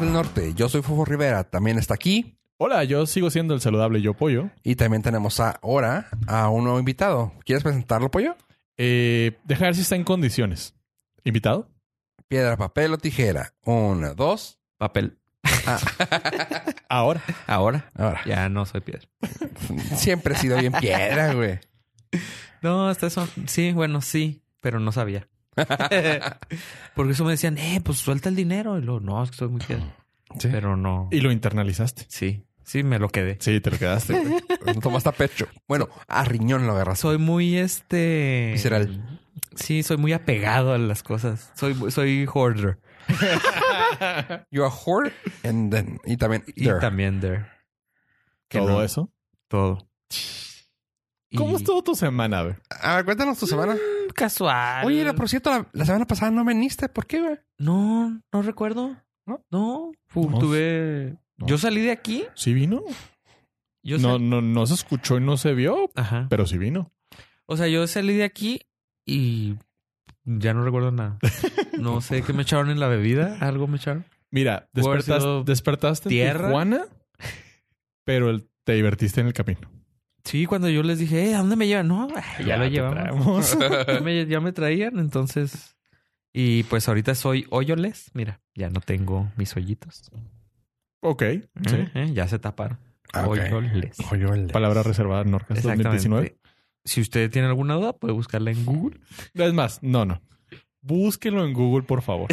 Norte. Yo soy Fofo Rivera, también está aquí. Hola, yo sigo siendo el saludable Yo Pollo. Y también tenemos ahora a un nuevo invitado. ¿Quieres presentarlo, Pollo? Eh, deja ver si está en condiciones. ¿Invitado? Piedra, papel o tijera. Una, dos. Papel. Ahora. Ahora Ahora, ya no soy piedra. siempre he sido bien piedra, güey. No, hasta eso. Sí, bueno, sí, pero no sabía. Porque eso me decían, eh, pues suelta el dinero. Y luego, no, es que soy muy piedra. Sí. Pero no. Y lo internalizaste. Sí, sí, me lo quedé. Sí, te lo quedaste. güey. No tomaste a pecho. Bueno, a riñón lo agarras. Soy muy este. Visceral. Sí, soy muy apegado a las cosas. Soy, soy hoarder. You are whore and then. Y también. Y there. también there. Que Todo no, eso. Todo. ¿Cómo Y- estuvo tu semana, güey? A ver, cuéntanos tu semana. Casual. Oye, la- por cierto, la, la semana pasada no veniste. ¿Por qué, güey? No, no recuerdo. ¿No? No. fu- No. Tuve. No. Yo salí de aquí. ¿Sí vino? Yo no, sal- no, no se escuchó y no se vio, Ajá. pero sí vino. O sea, yo salí de aquí y ya no recuerdo nada. No sé qué me echaron en la bebida. Algo me echaron. Mira, Pudo haber despertas- sido despertaste tierra. en Tijuana, pero el- te divertiste en el camino. Sí, cuando yo les dije, eh, ¿a dónde me llevan? No, ya, lo Ah, te traemos. llevamos. Ya me, ya me traían, entonces. Y pues ahorita soy hoyoles. Mira, ya no tengo mis hoyitos. ok, sí. Eh, eh, ya se taparon. Ah, ok. Hoyoles. Joyoles. Palabra reservada en Norcas Exactamente. 2019. Si usted tiene alguna duda, puede buscarla en Google. Es más, no, no. Búsquelo en Google, por favor.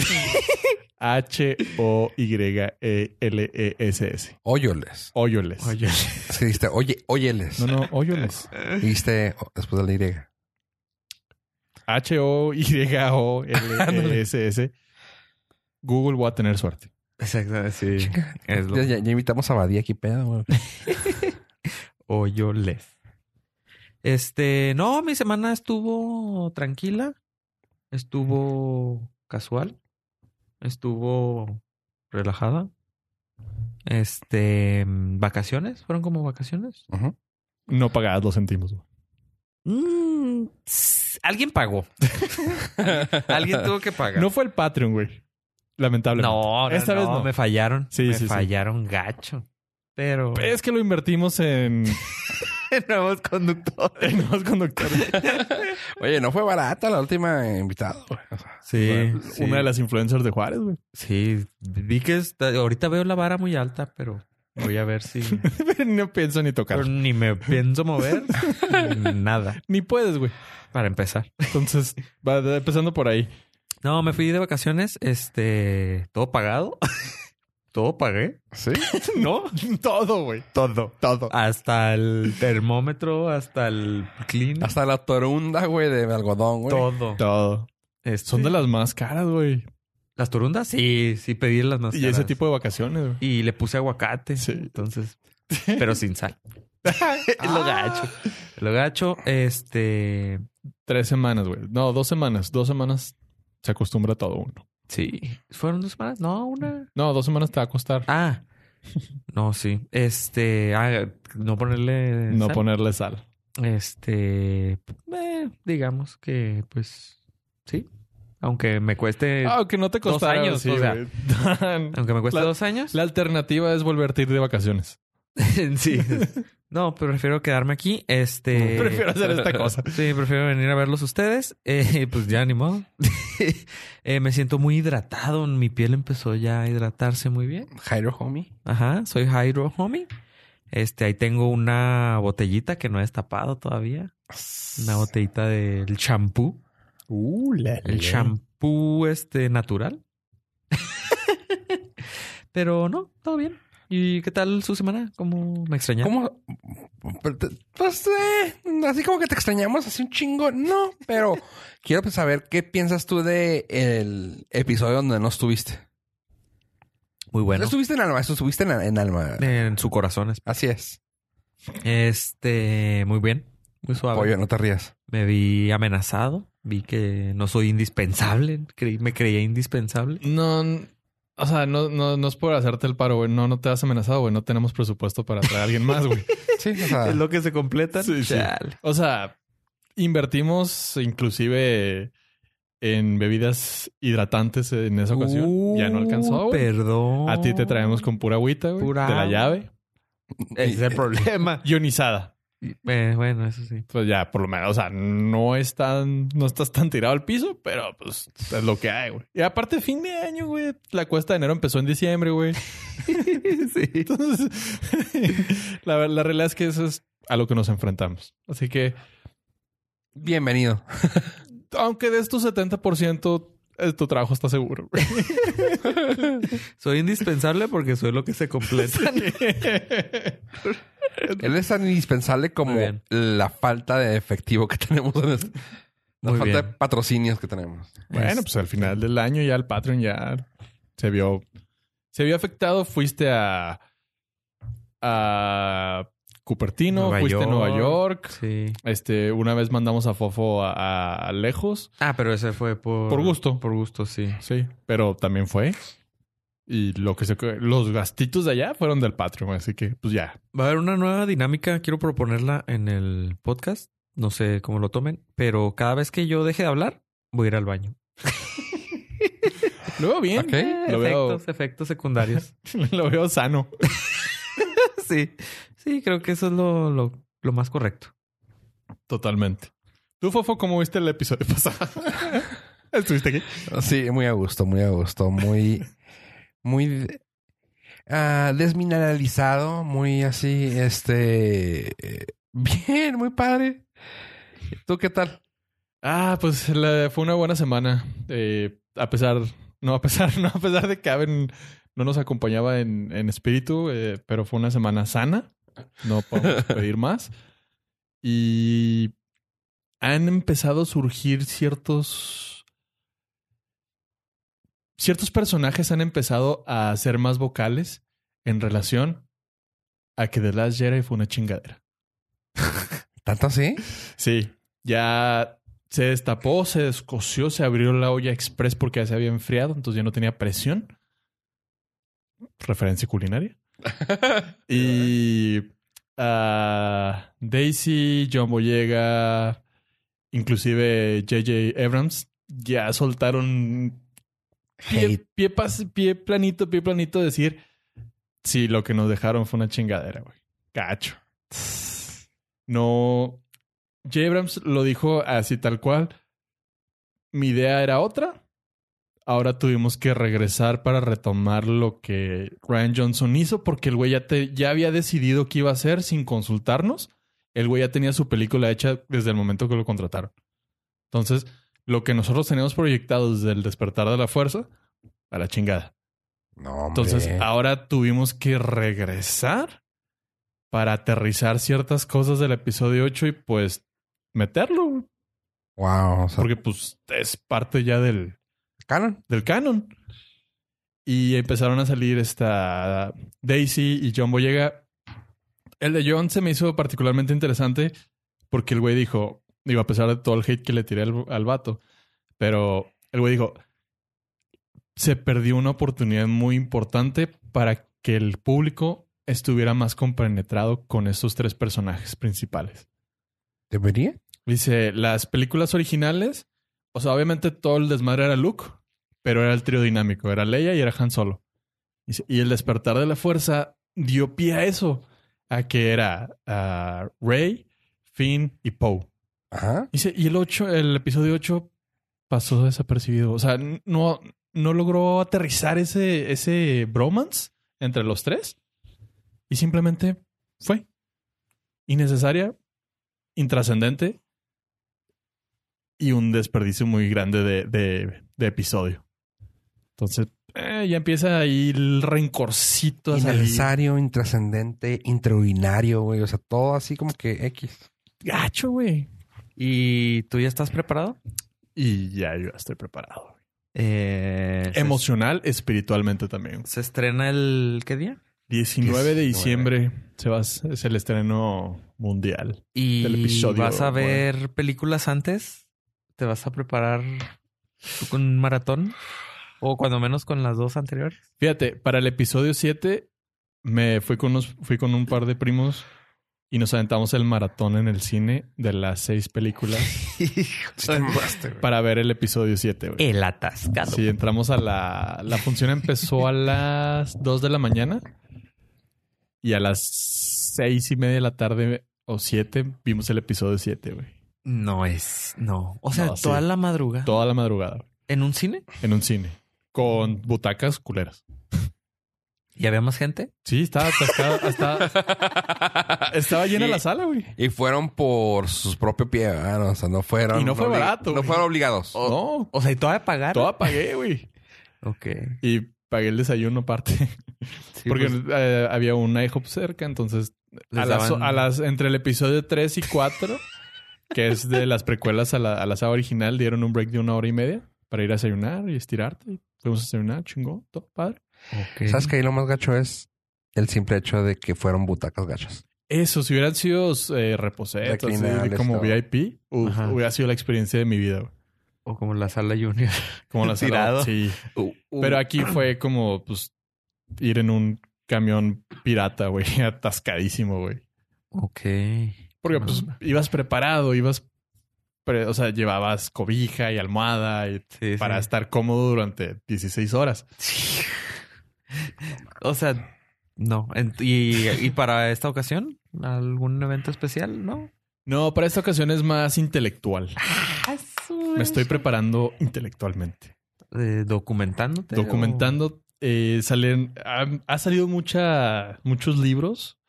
E H-O-Y-E-L-E-S-S. Hoyoles. Hoyoles. Hoyoles. Es que dijiste, oye, oyeles. No, no, hoyoles. Dijiste oh, después de la Y. E H-O-Y-O-L-E-S-S. E Google va a tener suerte. Exactamente, sí. Es lo Ya, ya- ya invitamos a Badía aquí, pedo, güey. Hoyoles. Este, no, mi semana estuvo tranquila. Estuvo casual. Estuvo relajada. Este, vacaciones, fueron como vacaciones. Ujú. No pagadas los sentimos. güey. Mm, tss, alguien pagó. alguien tuvo que pagar. No fue el Patreon, güey. Lamentablemente. No, no, Esta vez no, no. me fallaron. Sí, me sí, sí. fallaron gacho. Pero Es que lo invertimos en, nuevos conductores. en los conductores. Oye, no fue barata la última invitada. güey. O sea, Sí, sí. Una de las influencers de Juárez, güey. Sí, vi que está- ahorita veo la vara muy alta, pero voy a ver si no pienso ni tocar. pero ni me pienso mover nada Ni puedes, güey. para empezar. Entonces, va empezando por ahí. No, me fui de vacaciones, este, todo pagado. Todo pagué. Sí. ¿No? Todo, güey. Todo. Todo. Hasta el termómetro, hasta el clean, Hasta la torunda, güey, de algodón, güey. todo. Todo. Este, Son de las más caras, güey. las turundas? Sí, sí pedí las más Y ese caras. tipo de vacaciones, güey. y le puse aguacate. Sí. Entonces, pero sin sal. Ah. lo gacho. Lo gacho, este. Tres semanas, güey. No, dos semanas. Dos semanas se acostumbra a todo uno. Sí. ¿Fueron dos semanas? No, una. No, dos semanas te va a costar Ah. No, sí. Este. ah, no ponerle. no sal. ponerle sal. Este. eh, digamos que, pues. Sí. Aunque me cueste. Ah, que no te dos costara. años, sí, o sea. güey. Aunque me cueste la- dos años. La alternativa es volverte a ir de vacaciones. sí. No, pero prefiero quedarme aquí. Este. Prefiero hacer esta cosa. Sí, prefiero venir a verlos ustedes. Eh, pues ya ni modo. Eh, me siento muy hidratado. Mi piel empezó ya a hidratarse muy bien. Jairo Homie. Ajá, soy Jairo Homie. Este, ahí tengo una botellita que no he destapado todavía. Una botellita del champú. Uh, El champú este natural. Pero no, todo bien. ¿Y qué tal su semana? ¿Cómo me extrañaron? ¿Cómo? Pero te- Pues, eh, así como que te extrañamos así un chingo. No, pero quiero pues, saber qué piensas tú de el episodio donde no estuviste. Muy No bueno. Pues estuviste en alma, estuviste en, en alma. En su corazón. es- Así es. Este, muy bien. Muy suave. Pollo, no te rías. Me vi amenazado. Vi que no soy indispensable. Creí- me creía indispensable. No, n- o sea, no, no, no es por hacerte el paro, güey. No, no te has amenazado, güey. No tenemos presupuesto para traer a alguien más, güey. Sí, o sea, Es lo que se completa. Sí, sí. O sea, invertimos inclusive en bebidas hidratantes en esa ocasión. ya no alcanzó, güey. Perdón. A ti te traemos con Uh, pura agüita, güey. Pura De la agua. llave. eh, Ese es el problema. Ionizada. Eh, bueno, eso sí. Pues ya, por lo menos, o sea, no es tan, no estás tan tirado al piso, pero pues es lo que hay, güey. Y aparte, fin de año, güey. La cuesta de enero empezó en diciembre, güey. sí. Entonces, la, la realidad es que eso es a lo que nos enfrentamos. Así que, Bienvenido. aunque de estos 70%, eh, tu trabajo está seguro. güey. Soy indispensable porque soy lo que se completa. Él es tan indispensable como Muy bien. la falta de efectivo que tenemos en este- La Muy falta de bien. patrocinios que tenemos. bueno, pues al final del año ya el Patreon ya se vio, se vio afectado. Fuiste a, a Cupertino, Nueva fuiste a Nueva York. York. Sí. Este, una vez mandamos a Fofo a, a- a lejos. Ah, pero ese fue por... Por gusto. Por gusto, sí. Sí, pero también fue. Y lo que se, los gastitos de allá fueron del Patreon, así que pues ya, Va a haber una nueva dinámica, quiero proponerla en el podcast. No sé cómo lo tomen, pero cada vez que yo deje de hablar, voy a ir al baño. Lo veo bien. Ok. Lo veo, Eh, efectos, efectos secundarios. lo veo sano. sí, sí, creo que eso es lo, lo, lo más correcto. Totalmente. Tú, Fofo, ¿cómo viste el episodio pasado? ¿Estuviste aquí? Sí, muy a gusto, muy a gusto, muy, muy ah, desmineralizado, muy así, este, eh, bien, muy padre. ¿Tú qué tal? Ah, pues la- fue una buena semana. Eh, a pesar, no, a pesar, no, a pesar de que Aven no nos acompañaba en, en espíritu, eh, pero fue una semana sana. No podemos pedir más. Y han empezado a surgir ciertos. Ciertos personajes han empezado a ser más vocales en relación a que The Last Jedi fue una chingadera. ¿Tanto así? Sí, ya se destapó, se descoció, se abrió la olla express porque ya se había enfriado, entonces ya no tenía presión. Referencia culinaria. y ah, Daisy, John Boyega, inclusive JJ Abrams, ya soltaron pie, Hate. pie, pas- pie planito, pie planito, decir, sí, lo que nos dejaron fue una chingadera, güey. Cacho. No, J. Abrams lo dijo así tal cual. Mi idea era otra. Ahora tuvimos que regresar para retomar lo que Ryan Johnson hizo porque el güey ya, te- ya había decidido qué iba a hacer sin consultarnos. El güey ya tenía su película hecha desde el momento que lo contrataron. Entonces, lo que nosotros teníamos proyectado desde el despertar de la fuerza, a la chingada. No, hombre. Entonces, ah, ahora tuvimos que regresar para aterrizar ciertas cosas del episodio 8 y pues meterlo, güey. wow, o sea, porque pues es parte ya del, canon. del canon. Y empezaron a salir esta Daisy y John Boyega. El de John se me hizo particularmente interesante porque el güey dijo, digo, a pesar de todo el hate que le tiré al, al vato, pero el güey dijo, se perdió una oportunidad muy importante para que el público estuviera más compenetrado con estos tres personajes principales. ¿Debería? Dice, las películas originales, o sea, obviamente todo el desmadre era Luke, pero era el trío dinámico, era Leia y era Han Solo. Dice, y el despertar de la fuerza dio pie a eso, a que era ah, Rey, Finn y Poe. Ajá. Dice, y el 8, el episodio 8 pasó desapercibido. O sea, n- no, no logró aterrizar ese, ese bromance entre los tres. Y simplemente fue. Innecesaria, intrascendente y un desperdicio muy grande de, de- de episodio. Entonces, eh, ya empieza ahí el rencorcito a salir. Innecesario, intrascendente, intraordinario, güey. O sea, todo así como que X. Gacho, güey. ¿Y tú ya estás preparado? Y ya yo ya estoy preparado. Eh, se- Emocional, espiritualmente también. Se estrena el... ¿Qué día? 19 de diciembre se va, es el estreno mundial. Y Del episodio, vas a ver películas antes. ¿Te vas a preparar tú con un maratón? O cuando menos con las dos anteriores. Fíjate, para el episodio 7 me fui con unos, fui con un par de primos y nos aventamos el maratón en el cine de las seis películas Sí te mamaste, güey. para ver el episodio 7, güey. El atascado. Sí, entramos a la... La función empezó a las 2 de la mañana y a las seis y media de la tarde o 7 vimos el episodio 7, güey. No es. No. O sea, No, sí. toda la madrugada. Toda la madrugada güey, ¿En un cine? en un cine con butacas culeras. ¿Y había más gente? Sí, estaba atascada. hasta- estaba llena Sí. la sala, güey. Y fueron por sus propios pies, ¿verdad? No, o sea, no fueron. Y no fue barato, No güey. Oh, fueron obligados. No, O sea, ¿y todavía pagaron? todo pagué, güey. Ok. Y pagué el desayuno aparte. Sí, porque pues, eh, había un IHOP cerca, entonces les a las, daban- a las- entre el episodio 3 y 4, que es de las precuelas a la, a la saga original, dieron un break de una hora y media para ir a desayunar y estirarte. Y fuimos a desayunar, chingón, todo padre. Ok. ¿Sabes que ahí lo más gacho es el simple hecho de que fueron butacas gachas? Eso, si hubieran sido eh, reposetas, así, Reclinables, como todo. VIP, uf, Ajá. hubiera sido la experiencia de mi vida. güey. O como la sala junior. Como la sala- Tirado. Sí. Uh, uh. Pero aquí fue como, pues, ir en un camión pirata, güey, atascadísimo, güey. Ok. Porque pues Ah. ibas preparado, ibas, pre- o sea, llevabas cobija y almohada y Sí, sí. para estar cómodo durante 16 horas. Sí. O sea, no. Ent- ¿Y, y para esta ocasión? ¿Algún evento especial? No. No, para esta ocasión es más intelectual. Ah, Me estoy preparando intelectualmente. Eh, documentándote. Documentando, eh, salen, ha, ha salido mucha, muchos libros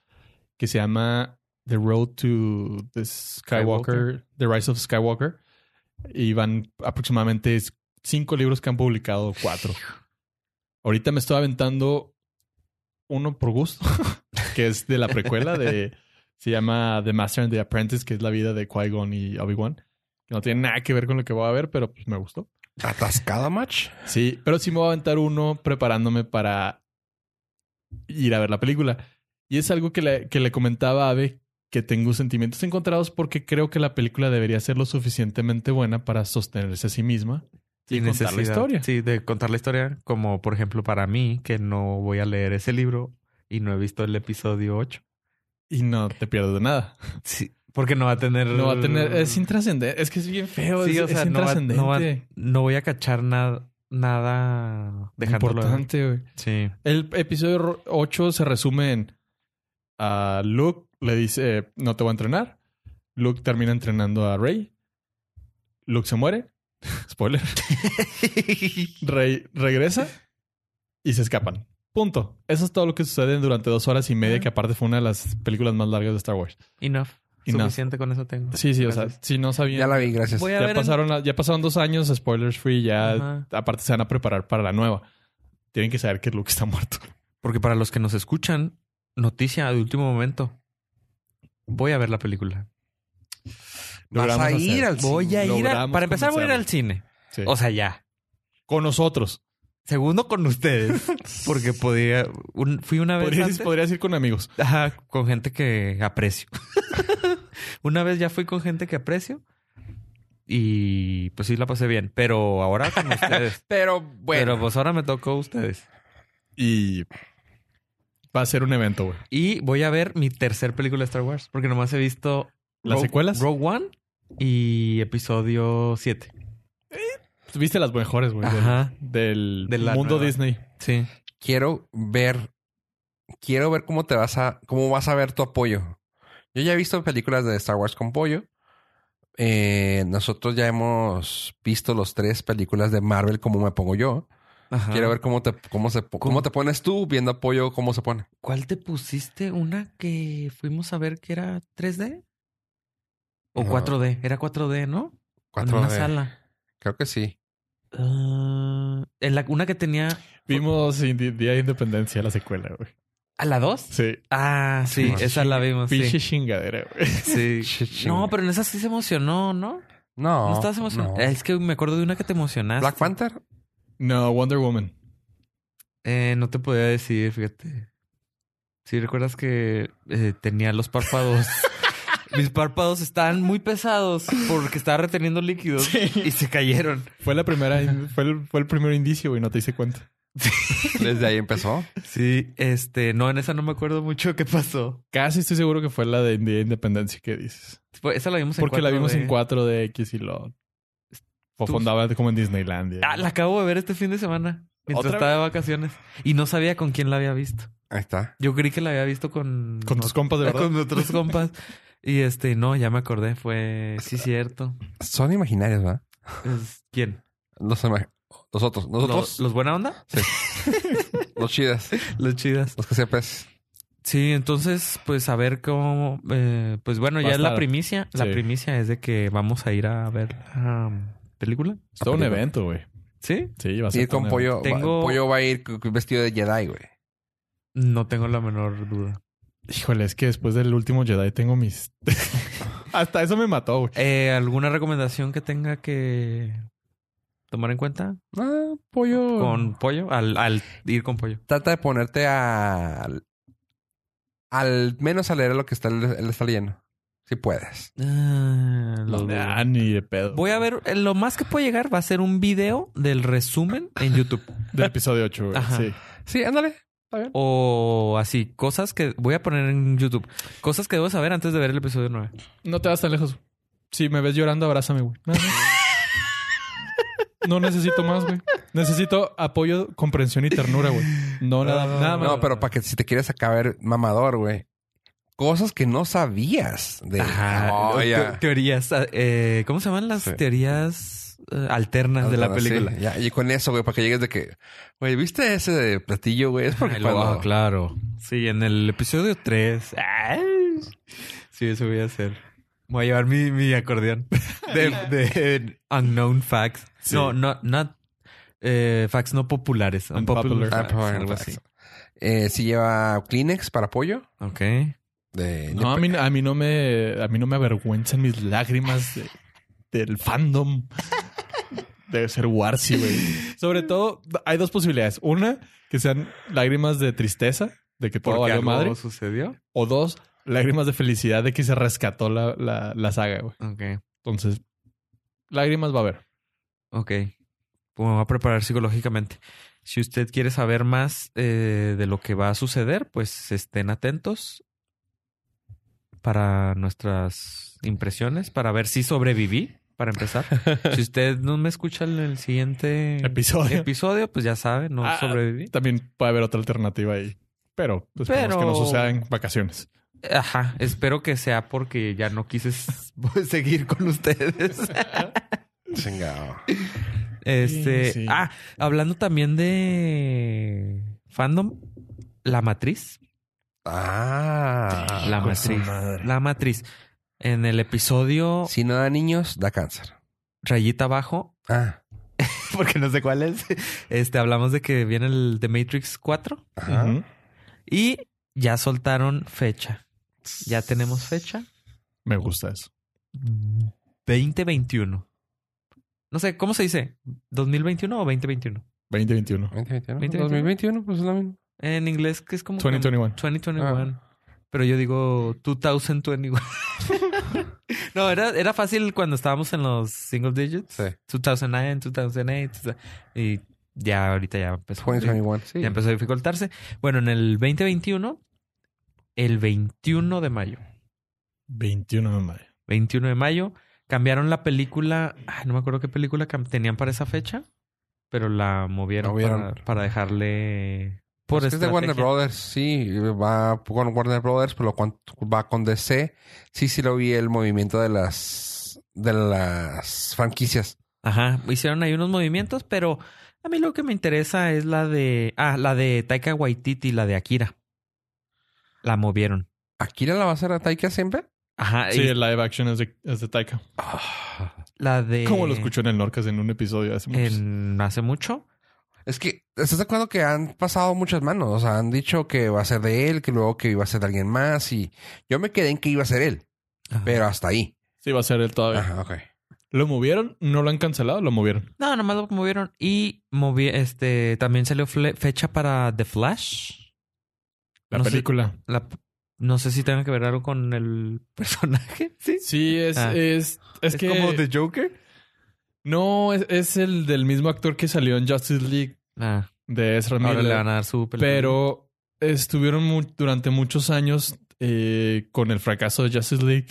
que se llama The Road to the Skywalker, The Rise of Skywalker. Y van aproximadamente cinco libros que han publicado, cuatro. Ahorita me estoy aventando uno por gusto, que es de la precuela de... Se llama The Master and the Apprentice, que es la vida de Qui-Gon y Obi-Wan. Que no tiene nada que ver con lo que voy a ver, pero pues, me gustó. ¿Atascada, match? Sí, pero sí me voy a aventar uno preparándome para ir a ver la película. Y es algo que le, que le comentaba a Ave que tengo sentimientos encontrados porque creo que la película debería ser lo suficientemente buena para sostenerse a sí misma y Sin contar la necesidad. historia. Sí, de contar la historia. Como por ejemplo para mí, que no voy a leer ese libro y no he visto el episodio 8. Y no te pierdes de nada. Sí. Porque no va a tener. No va a tener... Es intrascendente. Es que es bien feo. Sí, es, o sea, es no va- intrascendente. no va- No voy a cachar nada. Nada. Dejándolo. Importante, güey. Sí. El episodio 8 se resume en a Luke le dice, eh, no te voy a entrenar. Luke termina entrenando a Rey. Luke se muere. Spoiler. Rey regresa y se escapan. Punto. Eso es todo lo que sucede durante dos horas y media, que aparte fue una de las películas más largas de Star Wars. Enough. Enough. Suficiente con eso tengo. Sí, sí, o sea, Gracias. si no sabían. Ya la vi, gracias. Voy a Ya ver. en- pasaron, la- ya pasaron dos años, spoilers free, ya Ajá. aparte se van a preparar para la nueva. Tienen que saber que Luke está muerto. Porque para los que nos escuchan, noticia de último momento. Voy a ver la película. Vas a Logramos ir hacer. al cine. Voy a ir a, logramos Para empezar, voy a ir al cine. Sí. O sea, ya. con nosotros. Segundo con ustedes. Porque podría. un- fui una vez. Podrías, antes- podrías ir con amigos. Ajá, con gente que aprecio. una vez ya fui con gente que aprecio. Y pues sí la pasé bien. Pero ahora con ustedes. Pero bueno. Pero pues ahora me tocó ustedes. Y va a ser un evento, güey. Y voy a ver mi tercer película de Star Wars. Porque nomás he visto ¿Las Rogue- secuelas? Rogue One y episodio 7. Viste las mejores, güey. del- Ajá. Del, De la mundo nueva. Disney. Sí. quiero ver, quiero ver cómo te vas a, cómo vas a ver tu apoyo. Yo ya he visto películas de Star Wars con pollo. Eh, nosotros ya hemos visto los tres películas de Marvel como me pongo yo. Ajá. Quiero ver cómo te, cómo se, po- cómo te pones tú viendo apoyo, cómo se pone. ¿Cuál te pusiste? Una que fuimos a ver que era 3D. O No. 4D. Era 4D, ¿no? en 4D. una sala. Creo que sí. Ah, en la, una que tenía. Vimos Indi- Día de Independencia, la secuela, güey. ¿A la 2? Sí. Ah, sí, Sí. esa la vimos. Pinche Sí. chingadera, güey. Sí. Ch- No, pero en esa sí se emocionó, ¿no? No. No, estabas emocionado. no. Es que me acuerdo de una que te emocionaste. Black Panther. No, Wonder Woman. Eh, no te podía decir, fíjate. Si recuerdas que eh, tenía los párpados. Mis párpados estaban muy pesados porque estaba reteniendo líquidos y se cayeron. Fue la primera, in- fue el, fue el primer indicio, güey. No te hice cuenta. Desde ahí empezó. Sí, este, no, en esa no me acuerdo mucho qué pasó. Casi estoy seguro que fue la de Día de Independencia que dices. Fue- Pues, Esa la vimos en Porque la vimos 4D. en 4DX y lo Tus- fondaba como en Disneylandia. Ah, la acabo de ver este fin de semana. Mientras ¿Otra estaba de vacaciones. Y no sabía con quién la había visto. Ahí está. Yo creí que la había visto con... Con tus compas, de verdad. Con otros compas. Y este, no, ya me acordé. Fue... Sí, cierto. Son imaginarios, ¿verdad? Es- ¿Quién? Los ima- nosotros, ¿Los, nosotros, los buena onda? los chidas, Los chidas. los que sepas. Sí, entonces, pues a ver cómo... eh, pues bueno, Va ya a es la estar. primicia. La Sí. primicia es de que vamos a ir a ver la película. Es todo un evento, güey. ¿Sí? Sí, va a ser Ir todo con un pollo. va- Tengo- pollo va a ir c- vestido de Jedi, güey. No tengo la menor duda. evento. Híjole, es que después del último Jedi tengo mis... Hasta eso me mató, güey. Eh, ¿Alguna recomendación que tenga que tomar en cuenta? Ah, Mm. pollo. Con pollo, al, al ir con pollo. Trata de ponerte a. Al menos a leer lo que está, él está leyendo. Si puedes. Lo- Ah, ni de pedo. Mm. Voy a ver, eh, lo más que puede llegar va a ser un video del resumen en YouTube. Del episodio 8, güey. Ajá. Sí. Sí, ándale. O así, cosas que voy a poner en YouTube. Cosas que debo saber antes de ver el episodio 9. No te vas tan lejos. Si me ves llorando, abrázame, güey. Nada más. No necesito más, güey. Necesito apoyo, comprensión y ternura, güey. Ah, No, nada, nada más. No, pero para que si te quieres acabar mamador, güey. Cosas que no sabías de. Oh, Te- ya. Teorías, ah, eh, ¿cómo se llaman las Sí. teorías eh, alternas de la Sí, película? ya, Y con eso, güey, para que llegues de que. Güey, ¿viste ese platillo, güey? Es porque Ah, lo- cuando- ah, claro. Sí, en el episodio 3. Ay. Sí, eso voy a hacer. Voy a llevar mi, mi acordeón de, de Unknown Facts. Sí. No, no, not eh, facts no populares. Unpopular Ah, facts, pues, algo pues, así. eh, sí lleva Kleenex para pollo. Ok. De, No, a mí, a mí no me a mí no me avergüenzan mis lágrimas de- del fandom de ser Warsi, güey. Sobre todo, hay dos posibilidades. Una, que sean lágrimas de tristeza, de que todo Porque valió algo madre. sucedió. O dos, lágrimas de felicidad de que se rescató la, la, la saga, güey. Ok. Entonces, lágrimas va a haber. Ok. Pues me voy a preparar psicológicamente. Si usted quiere saber más eh, de lo que va a suceder, pues estén atentos para nuestras impresiones, para ver si sobreviví, para empezar. si usted no me escucha en el siguiente Mm. Episodio. episodio, pues ya sabe, no Ah, sobreviví. También puede haber otra alternativa ahí. Pero esperemos Pero- que no suceda en vacaciones. Ajá, espero que sea porque ya no quise s- pues, seguir con ustedes. Chingado. Este, Sí, sí. ah, hablando también de fandom, La Matriz. Ah. La Hijo de su matriz. madre. La matriz. En el episodio Si no da niños, da cáncer. Rayita Abajo, Ah. porque no sé cuál es, este, hablamos de que viene el The Matrix 4 Ajá. Ujú. y ya soltaron fecha. Ya tenemos fecha. Me gusta eso. 2021. No sé, ¿cómo se dice? ¿2021 o 2021? 2021. 2021. 2021. 2021, pues es lo mismo. En inglés, que es como... 2021. 2021. Ah. Pero yo digo 2021. no, era, era fácil cuando estábamos en los single digits. Sí. 2009, 2008. Y ya ahorita ya empezó. 2021. Sí. Ya empezó a dificultarse. Bueno, en el 2021, el 21 de mayo. 21 de mayo. 21 de mayo, cambiaron la película. ay, no me acuerdo qué película cam- tenían para esa fecha, pero la movieron Movieron. para, para dejarle. Por Pues es de Warner estrategia. Brothers, sí, va con Warner Brothers, pero cuan- va con DC. Sí, sí lo vi el movimiento de las de las franquicias. Ajá, hicieron ahí unos movimientos, pero a mí lo que me interesa es la de. Ah, la de Taika Waititi, la de Akira. La movieron. ¿Akira la va a hacer a Taika siempre? Ajá, Sí, y el live action es de, es de Taika. la de. Como lo escuchó en el Norcas en un episodio hace mucho. Eh, en- hace mucho. Es que, ¿estás de acuerdo que han pasado muchas manos? O sea, han dicho que va a ser de él, que luego que iba a ser de alguien más y yo me quedé en que iba a ser él, Ajá. pero hasta ahí. Sí, va a ser él todavía. Ajá, ok. ¿Lo movieron? ¿No lo han cancelado? Lo movieron. No, nomás lo movieron. Y movi este también salió fle- fecha para The Flash. La No sé. película. La- no sé si tenga que ver algo con el personaje. Sí. Sí, es, Ah. es, es, que... Joker. No, es, es el del mismo actor que salió en Justice League. Ah, de Ezra Ahora Miller. le van a dar su película. Pero estuvieron mu- durante muchos años eh, con el fracaso de Justice League,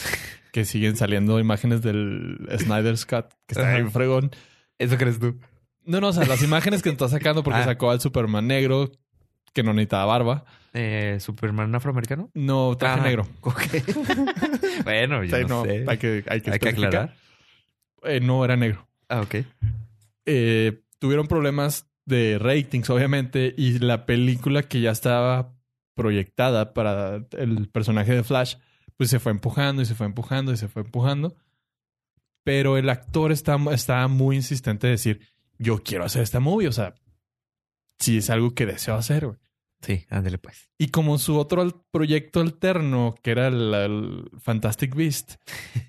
que siguen saliendo imágenes del Snyder Scott, que está Ajá. bien fregón. Eso crees tú. No, no, o sea, las imágenes que está sacando porque Ah. sacó al Superman negro, que no necesitaba barba. Eh, Superman afroamericano. No, traje Ah, negro. ok. bueno, yo Sí, no, no, sé. Hay que, hay que Hay que especificar. aclarar. Eh, no, era negro. Ah, ok. eh, tuvieron problemas de ratings, obviamente, y la película que ya estaba proyectada para el personaje de Flash, pues se fue empujando y se fue empujando y se fue empujando. Pero el actor está- estaba muy insistente de decir, yo quiero hacer esta movie, o sea, si es algo que deseo hacer, güey. Sí, ándale pues. Y como su otro al- proyecto alterno, que era el, el Fantastic Beast,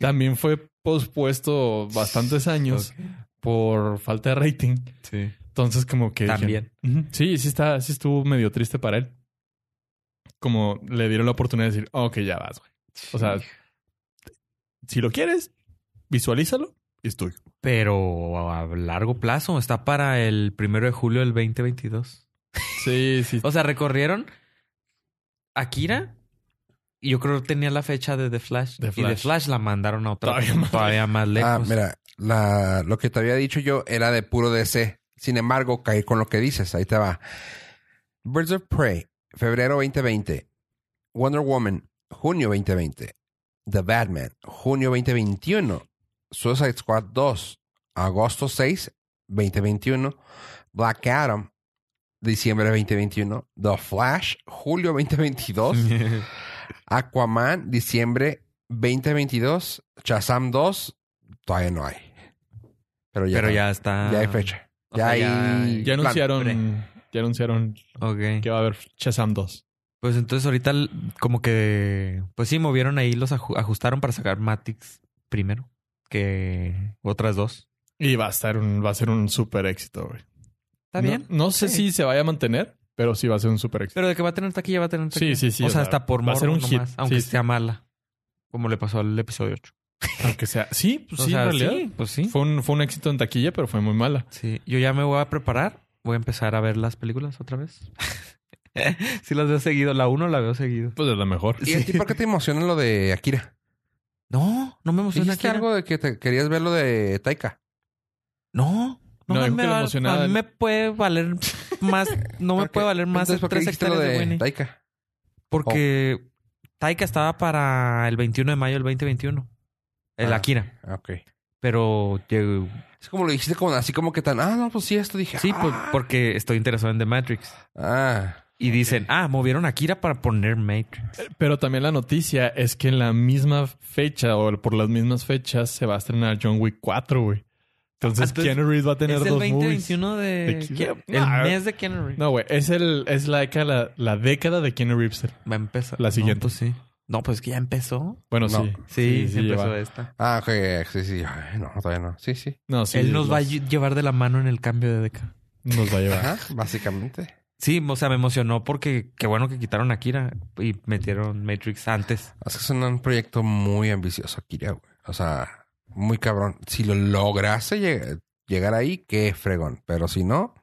también fue pospuesto bastantes años Ok. por falta de rating. Sí. Entonces, como que. dije- También. Ujú. Sí, sí, está, sí estuvo medio triste para él. Como le dieron la oportunidad de decir, ok, ya vas, güey. O sea, Si lo quieres, visualízalo y es tuyo. pero a largo plazo está para el primero de julio del 2022. Sí, sí. O sea, recorrieron Akira y yo creo que tenía la fecha de The Flash. The Y The Flash. Flash la mandaron a otra Todavía más todavía más Ah, lejos. mira, la- lo que te había dicho yo era de puro DC. Sin embargo, caí con lo que dices. Ahí te va. Birds of Prey, febrero 2020. Wonder Woman, junio 2020. The Batman, junio 2021. Suicide Squad 2, agosto 6, 2021. Black Adam, diciembre 2021. The Flash, julio 2022. Aquaman, diciembre 2022. Shazam 2, todavía no hay. Pero ya, pero ya está. ya hay fecha. O Ya sea, ya- hay. Ya plan. anunciaron. hombre. Ya anunciaron Ok. que va a haber Shazam 2. Pues entonces ahorita l- como que... Pues sí, movieron ahí, los aju- ajustaron para sacar Matix primero que otras dos. Y va a estar un, va a ser un super éxito, güey. No- Está bien. No, sé Sí. si se vaya a mantener, pero sí va a ser un super éxito. Pero de que va a tener taquilla, va a tener Sí, taquilla. sí, sí, O, o sea, sea, hasta por va a ser morbo un hit. nomás, aunque Sí, sí. sea mala. Como le pasó al episodio 8. Aunque sea. Sí, pues O sí, sea, en realidad. sí, pues sí. Fue, un, fue un éxito en taquilla, pero fue muy mala. Sí, yo ya me voy a preparar. Voy a empezar a ver las películas otra vez. si las veo seguido, la 1 la veo seguido. Pues es la mejor. ¿Y a ti por qué te emociona lo de Akira? No, no me emociona ¿Dijiste Akira. algo de que te querías ver lo de Taika? No, No, no, más dijo me que le va- emocionaba a mí el- me puede valer más, no me ¿Por qué? puede valer más Entonces, ¿por qué tres dijiste lo hectáreas de, Winnie. Taika? Porque Taika estaba para el 21 de mayo del 2021. El Ah. Akira. Ah, Ok. Pero llegó- Es como lo dijiste como así como que tan. Ah, no, pues sí, esto dije. sí, pues, ah, porque estoy interesado en The Matrix. Ah. Y dicen, ah, movieron a Akira para poner Matrix. Pero también la noticia es que en la misma fecha o por las mismas fechas se va a estrenar John Wick 4, güey. Entonces, Ah, entonces, Keanu Reeves va a tener es el dos movies. 2021 de... ¿De quién? El Nah. mes de Keanu Reeves. No, güey, es el es la década la, la década de Keanu Reeves. Va a empezar. La No, siguiente. pues sí. No, pues que ya empezó. Bueno, No. sí. Sí, se empezó lleva. esta. Ah, ok. Sí, sí. Ay, no, todavía no. Sí, sí. No, sí, Él nos va a los- lle- llevar de la mano en el cambio de década. nos va a llevar. Ajá, básicamente. Sí, o sea, me emocionó porque qué bueno que quitaron a Kira y metieron Matrix antes. Es que es un, un proyecto muy ambicioso, Akira, güey. O sea, muy cabrón. Si lo lograse lleg- llegar ahí, qué fregón. Pero si no,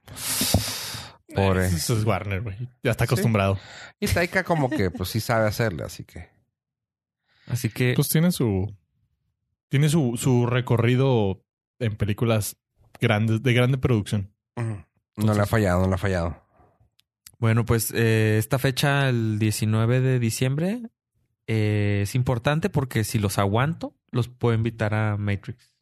pobre. Eso es Warner, güey. Ya está acostumbrado. Y Taika como que, pues sí sabe hacerle, así que... Así que Pues tiene su tiene su, su recorrido en películas grandes de grande producción. mm, No le ha fallado, no le ha fallado. Bueno, pues eh, esta fecha, el 19 de diciembre, eh, es importante porque si los aguanto, los puedo invitar a Matrix.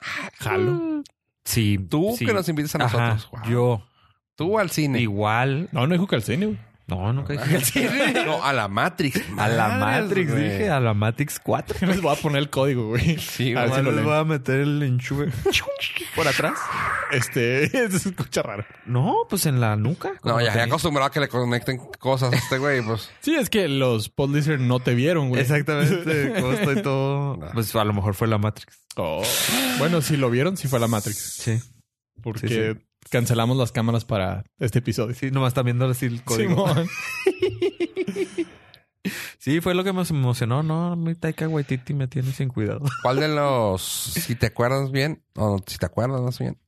Mm. Jalo. Sí. Tú sí. que nos invites a Ajá, nosotros. Wow. Yo. Tú al cine. Igual. No, no dijo que al cine, güey. No, nunca dije al cine. No, a la Matrix. A la Madres, Matrix, güey. dije. A la Matrix 4. Les voy a poner el código, güey. Ah, Sí, A ver güey. si lo leen. a meter el enchufe por atrás. Este, se escucha raro. No, pues en la nuca. como No, ya, ya tenía. acostumbrado a que le conecten cosas a este güey, pues... Sí, es que los podlisters no te vieron, güey. Exactamente. Como estoy todo. No. Pues a lo mejor fue la Matrix. Oh. Bueno, si lo vieron, sí fue la Matrix. Sí. Porque Sí, cancelamos las cámaras para este episodio. Sí, nomás están viendo así el código. Simón. Sí, fue lo que me emocionó. No, mi Taika Waititi me tiene sin cuidado. ¿Cuál de los, si te acuerdas bien, o si te acuerdas más bien,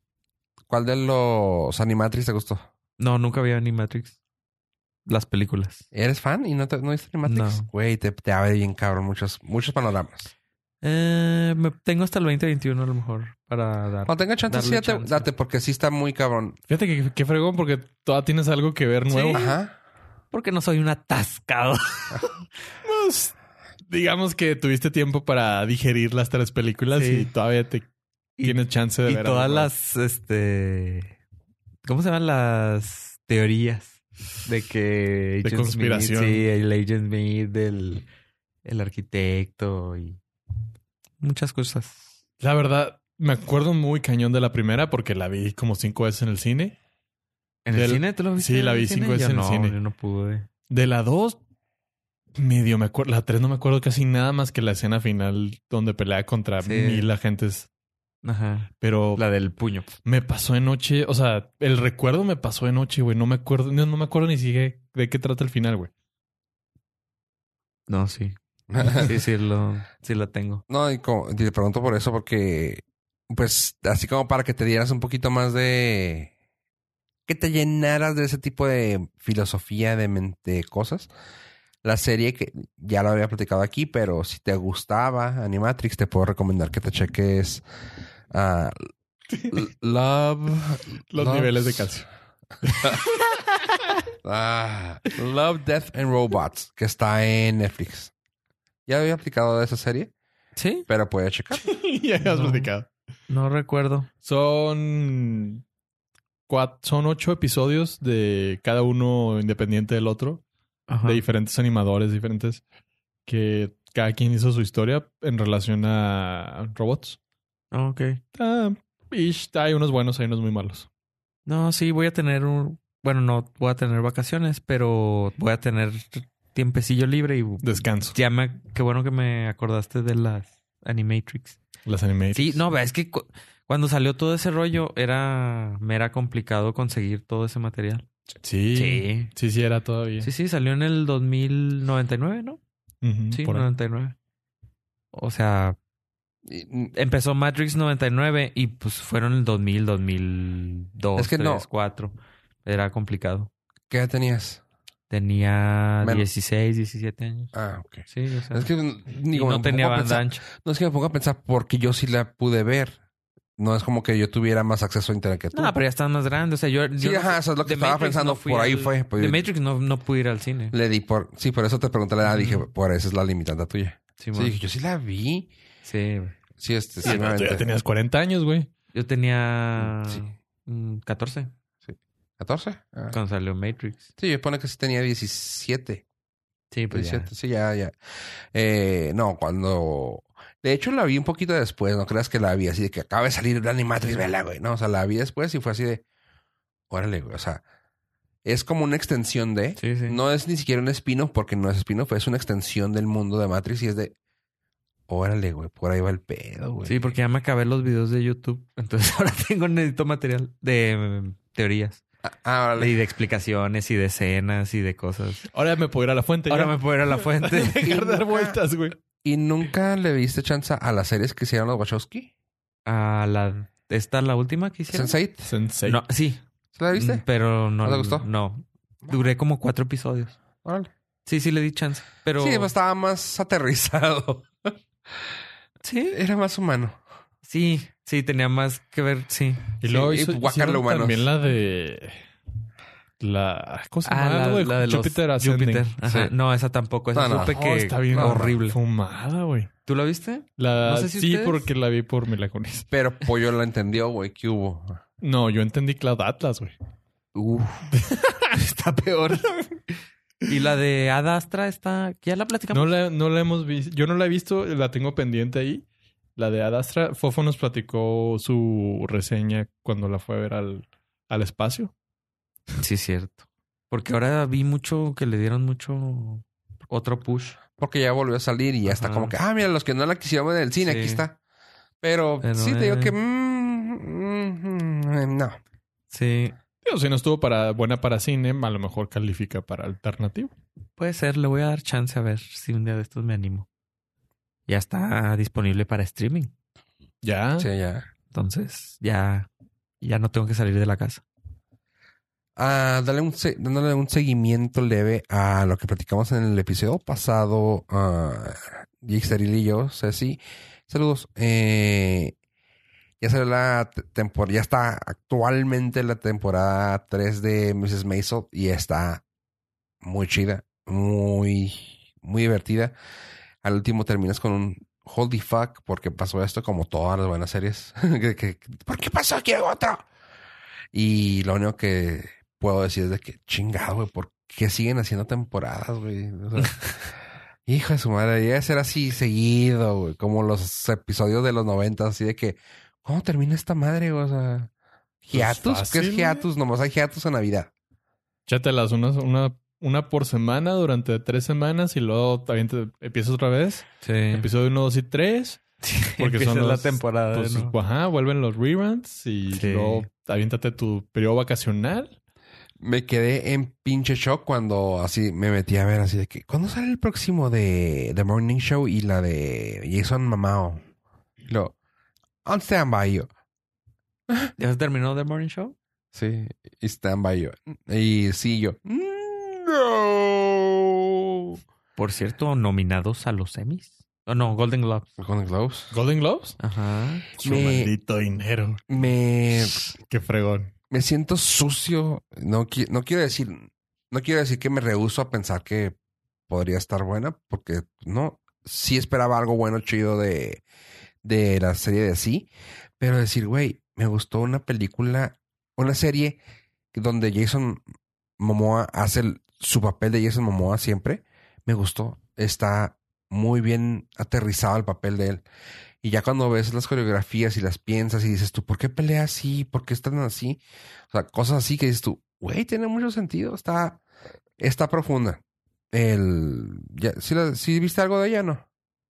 cuál de los Animatrix te gustó? No, nunca había ni Matrix. Las películas. ¿Eres fan y no, te, no viste ni Matrix? No. Güey, te, te abre bien cabrón muchos, muchos panoramas. Eh, me tengo hasta el 2021 a lo mejor para dar. Cuando tengas chance, Darle sí, date, chance. date, porque sí está muy cabrón. Fíjate que, que fregón porque todavía tienes algo que ver nuevo. Ajá. Porque no soy un atascado. Pues, digamos que tuviste tiempo para digerir las tres películas Sí. y todavía te Y- tienes chance de y ver. todas algo. las, este, ¿cómo se llaman las teorías de que Agent Smith, conspiración. sí, el Agent Smith, del el arquitecto y muchas cosas. La verdad, me acuerdo muy cañón de la primera porque la vi como cinco veces en el cine. ¿En el Del- cine tú lo viste? sí, en la el vi cine? cinco veces Yo en el no, cine. Yo no pude. De la dos, medio me acuerdo. La tres no me acuerdo casi nada más que la escena final donde pelea contra Sí. mil agentes. Ajá. Pero La del puño. me pasó de noche. O sea, el recuerdo me pasó de noche, güey. No me acuerdo, no, no me acuerdo ni siquiera de qué trata el final, güey. No, sí. Sí, sí, lo, sí la tengo. No, y como- y te pregunto por eso, porque, pues, así como para que te dieras un poquito más de. que te llenaras de ese tipo de filosofía de, men- de cosas. La serie que ya lo había platicado aquí, pero si te gustaba Animatrix, te puedo recomendar que te cheques ah, L- Love. Los Love- niveles de pues, calcio. Ah, Love, Death and Robots, que está en Netflix. Ya había aplicado de esa serie, ¿Sí? pero puedes checar. ya habías No. platicado. No recuerdo. Son cuat- son ocho episodios de cada uno independiente del otro, Ajá. de diferentes animadores, diferentes, que cada quien hizo su historia en relación a robots. Ah, ok. Ah, ish, hay unos buenos, hay unos muy malos. No, sí, voy a tener un... Bueno, no voy a tener vacaciones, pero voy a tener tiempecillo libre y Descanso. ya me... Qué bueno que me acordaste de las Animatrix. Las animadas. Sí, no, es que cu- cuando salió todo ese rollo era... Me era complicado conseguir todo ese material. Sí. Sí, sí, era todavía. Sí, sí, salió en el 2099, ¿no? Ujú, Sí, por ahí. 99. O sea, Y- empezó Matrix 99 y pues fueron el 2000, 2002, Es que 3, no. 4. Era complicado. ¿Qué edad tenías? Tenía Menos. 16, 17 años. Ah, ok. Sí, o sea, Es que y digo, no me tenía pongo a banda pensar- ancha. no es que me ponga a pensar porque yo sí la pude ver. No es como que yo tuviera más acceso a internet que tú. No, pero ya estás más grande. O sea, yo. Sí, yo no ajá, fui- eso es lo que The estaba Matrix pensando. no fui por ahí al- fue. pues, The yo Matrix no, no pude ir al cine. le di por... Sí, por eso te pregunté la edad. Dije, Ujú. por eso es la limitante tuya. Sí, Sí, dije, yo sí la vi. sí. güey. Sí, este, sí, me Sí, pero tú ya aventé. tenías 40 años, güey. Yo tenía. Sí. mm, 14 ¿14? Ah. cuando salió Matrix. Sí, yo pone que sí tenía 17. Sí, pues. ya. 17, sí, ya, ya. Eh, no, cuando... De hecho, la vi un poquito después. No creas que la vi así de que acaba de salir la Animatrix, vela, güey. No, o sea, la vi después y fue así de... Órale, güey. O sea, es como una extensión de... Sí, sí. No es ni siquiera un spin-off porque no es spin-off. Es una extensión del mundo de Matrix y es de... Órale, güey. Por ahí va el pedo, güey. Sí, porque ya me acabé los videos de YouTube. Entonces ahora tengo necesito material de mm, teorías. Ah, ah, órale. Y de explicaciones y de escenas y de cosas. Ahora me puedo ir a la fuente. Ahora ya. me puedo ir a la fuente. Dejar de dar nunca- vueltas, güey. ¿Y nunca le diste chance a las series que hicieron los Wachowski? a la esta la última que hicieron. ¿Sense8? Sensei. No, sí. ¿Se la viste? Mm, Pero no, ¿No te gustó? No. Duré como cuatro episodios. Órale. Sí, sí le di chance. Pero Sí, pues, estaba más aterrizado. sí, Era más humano. sí, sí, tenía más que ver, sí. pues, Y Sí, luego y hizo, guacarlo hicieron humanos. también la de... La... ¿Cómo se Ah, llama? la, Algo de la de los Júpiter Ascending. Júpiter. Ajá. Sí. No, esa tampoco. Esa No, no. supe Oh, que está bien horrible. Fumada, güey. ¿Tú la viste? La... No sé si sí, ustedes- porque la vi por Milaconis. Pero Pollo la entendió, güey. ¿Qué hubo? No, yo entendí Cloud Atlas, güey. Uf. está peor. y la de Ad Astra está. Ya la platicamos. No la, no la hemos visto. Yo no la he visto. La tengo pendiente ahí. La de Adastra. Fofo nos platicó su reseña cuando la fue a ver al, al espacio. Sí, cierto. Porque ahora vi mucho que le dieron mucho otro push. Porque ya volvió a salir y ya está Ajá. como que, ah, mira, los que no la quisieron ver en el cine, Sí. aquí está. Pero, Pero, sí te digo eh. que. mm, mm, mm, no. Ah. Sí. Digo, si no estuvo para buena para cine, a lo mejor califica para alternativo. Puede ser, le voy a dar chance a ver si un día de estos me animo. Ya está disponible para streaming. Ya. Sí, ya. Entonces, ya, ya no tengo que salir de la casa. ah, dale un se- dándole un seguimiento leve a lo que platicamos en el episodio pasado, ah, Jake Saril y yo, Ceci. Saludos. Eh, ya salió la te- tempor- ya está actualmente la temporada 3 de Mrs. Maisel y está muy chida, muy, muy divertida. Al último terminas con un holy fuck porque pasó esto como todas las buenas series. Que- que- ¿Por qué pasó aquí otro? Y lo único que puedo decir es de que chingado, güey, ¿por qué siguen haciendo temporadas, güey? O sea, hijo de su madre, debería ser así seguido, güey, como los episodios de los 90, así de que, ¿cómo termina esta madre? güey? O sea, hiatus, ¿qué fácil, es hiatus? Nomás hay hiatus en Navidad. Chátalas unas- una, una por semana durante tres semanas y luego también te empiezas otra vez. Sí. Episodio 1, 2 y 3. porque Empieza son la los- temporada. Pues, ¿no? ajá, vuelven los reruns y Sí. luego aviéntate tu periodo vacacional. Me quedé en pinche shock cuando así me metí a ver así de que, ¿cuándo sale el próximo de The Morning Show y la de Jason Mamao? Y Lo, on standby yo. ¿Ya se terminó The Morning Show? Sí, y stand by yo. Y sí, yo. No. Por cierto, nominados a los Emmys. Oh, no, Golden Globes. Golden Globes. Golden Globes. Ajá. Su Me- maldito dinero. Me, Qué fregón. me siento sucio. No, qui- no quiero decir, no quiero decir que me rehuso a pensar que podría estar buena, porque no, sí esperaba algo bueno, chido de, de la serie de sí, pero decir, güey, me gustó una película, una serie donde Jason Momoa hace el- su papel de Jason Momoa siempre, me gustó, está muy bien aterrizado el papel de él. Y ya cuando ves las coreografías y las piensas y dices tú, ¿por qué pelea así? ¿Por qué están así? O sea, cosas así que dices tú, güey, tiene mucho sentido, está, está profunda. El, ya, ¿sí, la- sí viste algo de ella no?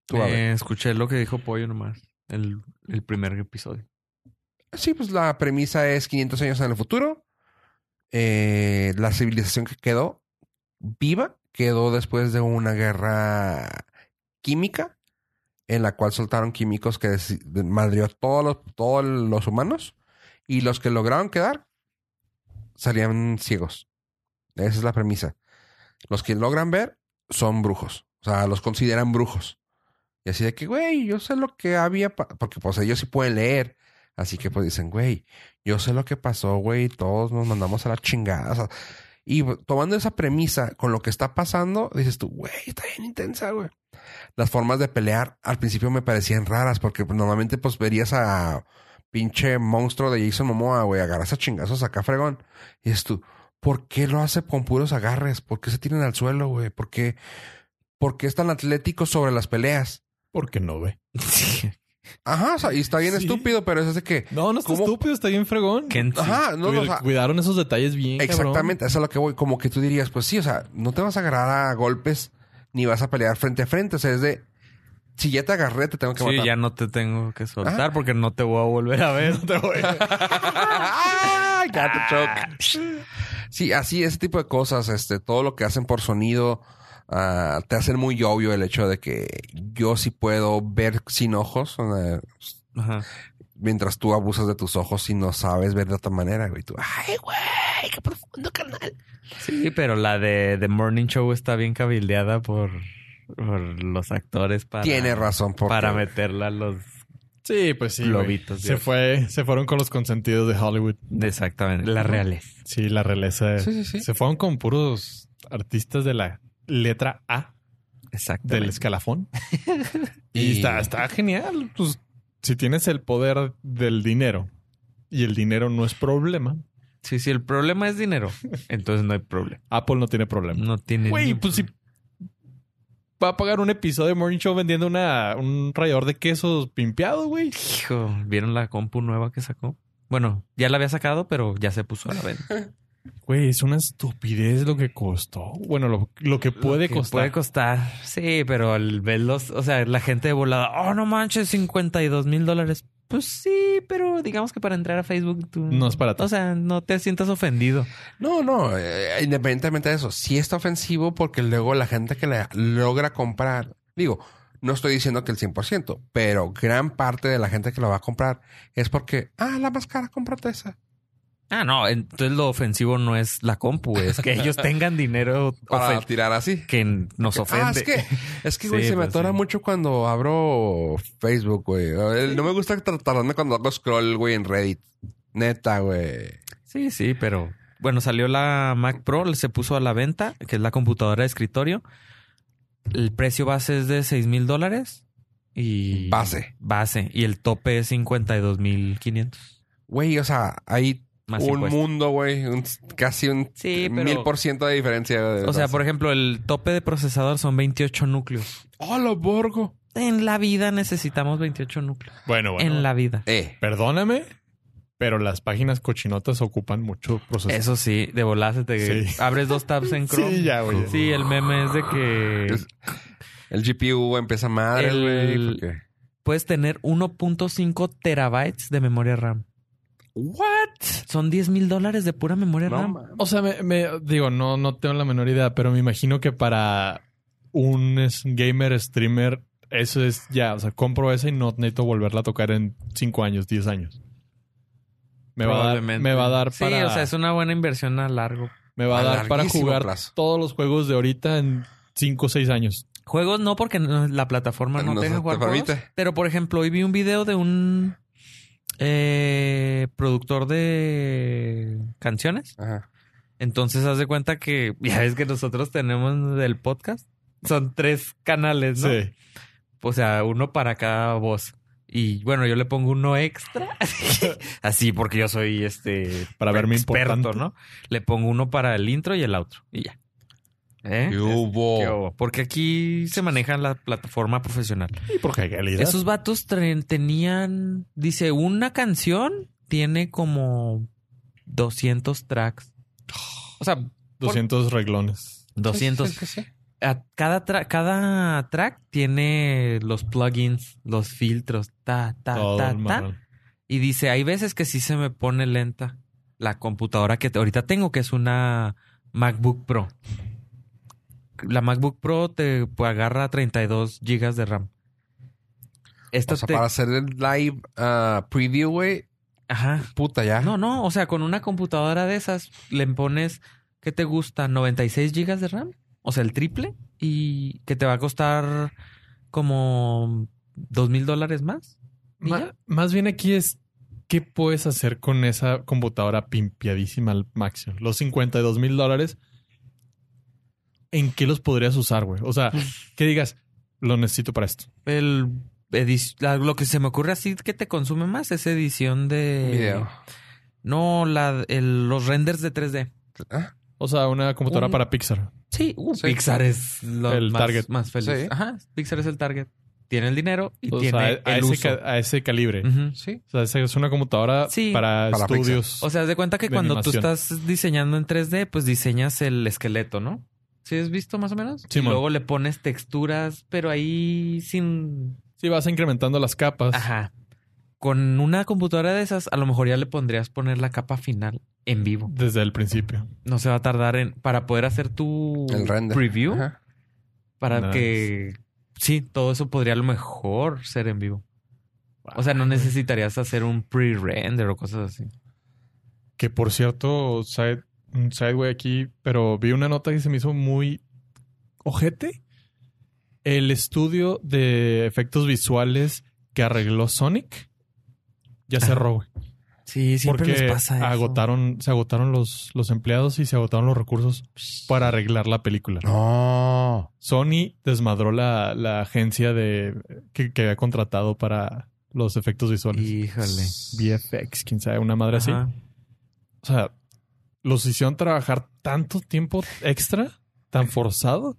Tú, a ver. Eh, escuché lo que dijo Pollo nomás. El, el primer episodio. Sí, pues la premisa es 500 años en el futuro. Eh, la civilización que quedó viva quedó después de una guerra química en la cual soltaron químicos que des- madrió a todos los, todos los humanos y los que lograron quedar salían ciegos. Esa es la premisa. Los que logran ver son brujos. O sea, los consideran brujos. Y así de que, güey, yo sé lo que había, pa-", porque pues ellos sí pueden leer. Así que pues dicen, güey, yo sé lo que pasó, güey, todos nos mandamos a la chingada. o sea, y pues, tomando esa premisa con lo que está pasando, dices tú, güey, está bien intensa, güey. Las formas de pelear al principio me parecían raras porque pues, normalmente pues verías a pinche monstruo de Jason Momoa, güey, agarras a chingazos acá fregón. Y dices tú, ¿por qué lo hace con puros agarres? ¿Por qué se tiran al suelo, güey? ¿Por qué, por qué es tan atlético sobre las peleas? Porque no ve. Ajá, o sea, y está bien Sí. estúpido, pero es así que... No, no está ¿Cómo? estúpido, está bien fregón. Kenzie. Ajá, no, no, o Cuid- sea, Cuidaron esos detalles bien. cabrón. Exactamente, eso es a lo que voy. Como que tú dirías, pues sí, o sea, no te vas a agarrar a golpes ni vas a pelear frente a frente. O sea, es de si ya te agarré, te tengo que Sí, matar. ya no te tengo que soltar Ah. porque no te voy a volver a ver. Ah, got the joke. Sí, así, ese tipo de cosas, este, todo lo que hacen por sonido, ah, te hacen muy obvio el hecho de que yo sí puedo ver sin ojos, eh, Ajá. mientras tú abusas de tus ojos y no sabes ver de otra manera, güey. Tú, ay, güey, qué profundo, carnal. Sí, pero la de The Morning Show está bien cabildeada por, por los actores para, Tiene razón, porque... para meterla a los... Sí, pues sí. güey. Globitos, se Dios. fue, se fueron con los consentidos de Hollywood. Exactamente, las reales. Sí, la realeza. Sí, sí, sí. Se fueron con puros artistas de la letra A del Exactamente. escalafón. Y está, está genial. Pues, si tienes el poder del dinero y el dinero no es problema, Sí, sí, el problema es dinero. Entonces no hay problema. Apple no tiene problema. No tiene... Güey, ni- pues si va a pagar un episodio de Morning Show vendiendo una, un rallador de quesos pimpeado, güey. Hijo, ¿vieron la compu nueva que sacó? Bueno, ya la había sacado, pero ya se puso a la venta. Güey, es una estupidez lo que costó. Bueno, lo, lo que puede Que costar. Puede costar. Sí, pero al verlos, o sea, la gente de volada, oh, no manches, 52 mil dólares. Pues sí, pero digamos que para entrar a Facebook tú. No es para ti. O sea, no te sientas ofendido. No, no, eh, independientemente de eso, sí está ofensivo porque luego la gente que la logra comprar, digo, no estoy diciendo que el 100%, pero gran parte de la gente que lo va a comprar es porque, ah, la más cara, cómprate esa. Ah, no, entonces lo ofensivo no es la compu, güey, es que ellos tengan dinero Para ofen- tirar así. que nos ofende. Ah, es que, es que, güey, Sí, se me pues, atora sí. mucho cuando abro Facebook, güey. Eh, No me gusta tra- tardarme cuando hago scroll, güey, en Reddit. Neta, güey. Sí, sí, pero bueno, salió la Mac Pro, se puso a la venta, que es la computadora de escritorio. El precio base es de 6 mil dólares y Base. base y el tope es 52 mil 500 Güey, o sea, hay más un impuestos. mundo, güey. un- casi un Sí, pero- mil por ciento de diferencia. güey. O sea, por ejemplo, el tope de procesador son 28 núcleos. ¡Hola, Borgo! En la vida necesitamos 28 núcleos. Bueno, bueno. En la vida. Eh. Perdóname, pero las páginas cochinotas ocupan mucho proceso. Eso sí, de volada te Sí. abres dos tabs en Chrome. Sí, ya, güey. Sí, el meme es de que Es- El GPU empieza madre, El- güey. porque- puedes tener 1.5 terabytes de memoria RAM. ¿What? Son 10 mil dólares de pura memoria No, RAM. mames. O sea, me, me- digo, no, no tengo la menor idea, pero me imagino que para un es- gamer streamer, eso es ya. O sea, compro esa y no necesito volverla a tocar en 5 años, 10 años. Me va, a dar, Probablemente. me va a dar Sí, para. o sea, es una buena inversión a largo. me va a a dar para larguísimo jugar plazo. todos los juegos de ahorita en 5 o 6 años. Juegos no, porque no- la plataforma Pues no, No te deja te jugar permite. juegos. Pero, por ejemplo, hoy vi un video de un eh, productor de canciones. Ajá. Entonces, haz de cuenta que ya ves que nosotros tenemos del podcast. Son tres canales, ¿no? Sí. O sea, uno para cada voz. Y bueno, yo le pongo uno extra. Así, porque yo soy este. Para verme experto, importante. ¿no? Le pongo uno para el intro y el outro. Y ya. ¿Eh? ¿Qué Es- hubo? ¿Qué hubo? Porque aquí se maneja la plataforma profesional. Y por calidad. Esos vatos tre- tenían. Dice, una canción tiene como 200 tracks. O sea, 200 reglones. 200 Sí, sí, sí, sí. a- cada, tra- cada track tiene los plugins, los filtros, ta, ta, Todo ta, el ta. marrón. Y dice, hay veces que sí se me pone lenta la computadora que te- ahorita tengo, que es una MacBook Pro. La MacBook Pro te pues, agarra 32 GB de RAM. Esta O sea, te- para hacer el live ah, preview, güey. Ajá. Puta, ya. No, no, o sea, con una computadora de esas le pones, ¿qué te gusta? ¿96 GB de RAM? O sea, el triple. Y que te va a costar como dos mil dólares más. ¿Y Ma- ya? más bien aquí es qué puedes hacer con esa computadora pimpiadísima al máximo. Los 52 mil dólares, ¿en qué los podrías usar, güey? O sea, Pues que digas, lo necesito para esto. El edi- la- lo que se me ocurre así que te consume más es edición de Video. No, la, el- los renders de 3D. Ah, O sea, una computadora Un- para Pixar. Sí, uh, Sí. Pixar es lo El más, target. más feliz. Sí. Ajá, Pixar es el target. Tiene el dinero y O tiene sea, a, el ese uso. ca- a ese calibre. Ujú. sí. O sea, esa es una computadora Sí. para, Para Pixar. estudios. O sea, haz de cuenta que de cuando tú animación. estás diseñando en 3D, pues diseñas el esqueleto, ¿no? ¿Sí has visto más o menos? Sí, y mon. luego le pones texturas, pero ahí sin... sí, vas incrementando las capas. Ajá. Con una computadora de esas, a lo mejor ya le pondrías poner la capa final en vivo. Desde el principio. No se va a tardar en... Para poder hacer tu El render. preview, Ajá. para Nice. que... Sí, todo eso podría a lo mejor ser en vivo. O sea, no Pues necesitarías hacer un pre-render o cosas así. Que por cierto, side, un sideway aquí, pero vi una nota que se me hizo muy ojete. El estudio de efectos visuales que arregló Sonic ya Ajá. cerró, güey. Sí, Ah, siempre Porque les pasa eso. agotaron, se agotaron los, los empleados y se agotaron los recursos para arreglar la película. No. Sony desmadró la, la agencia de que, que había contratado para los efectos visuales. Híjole. VFX, quién sabe, una madre así. Ajá. O sea, los hicieron trabajar tanto tiempo extra, tan forzado,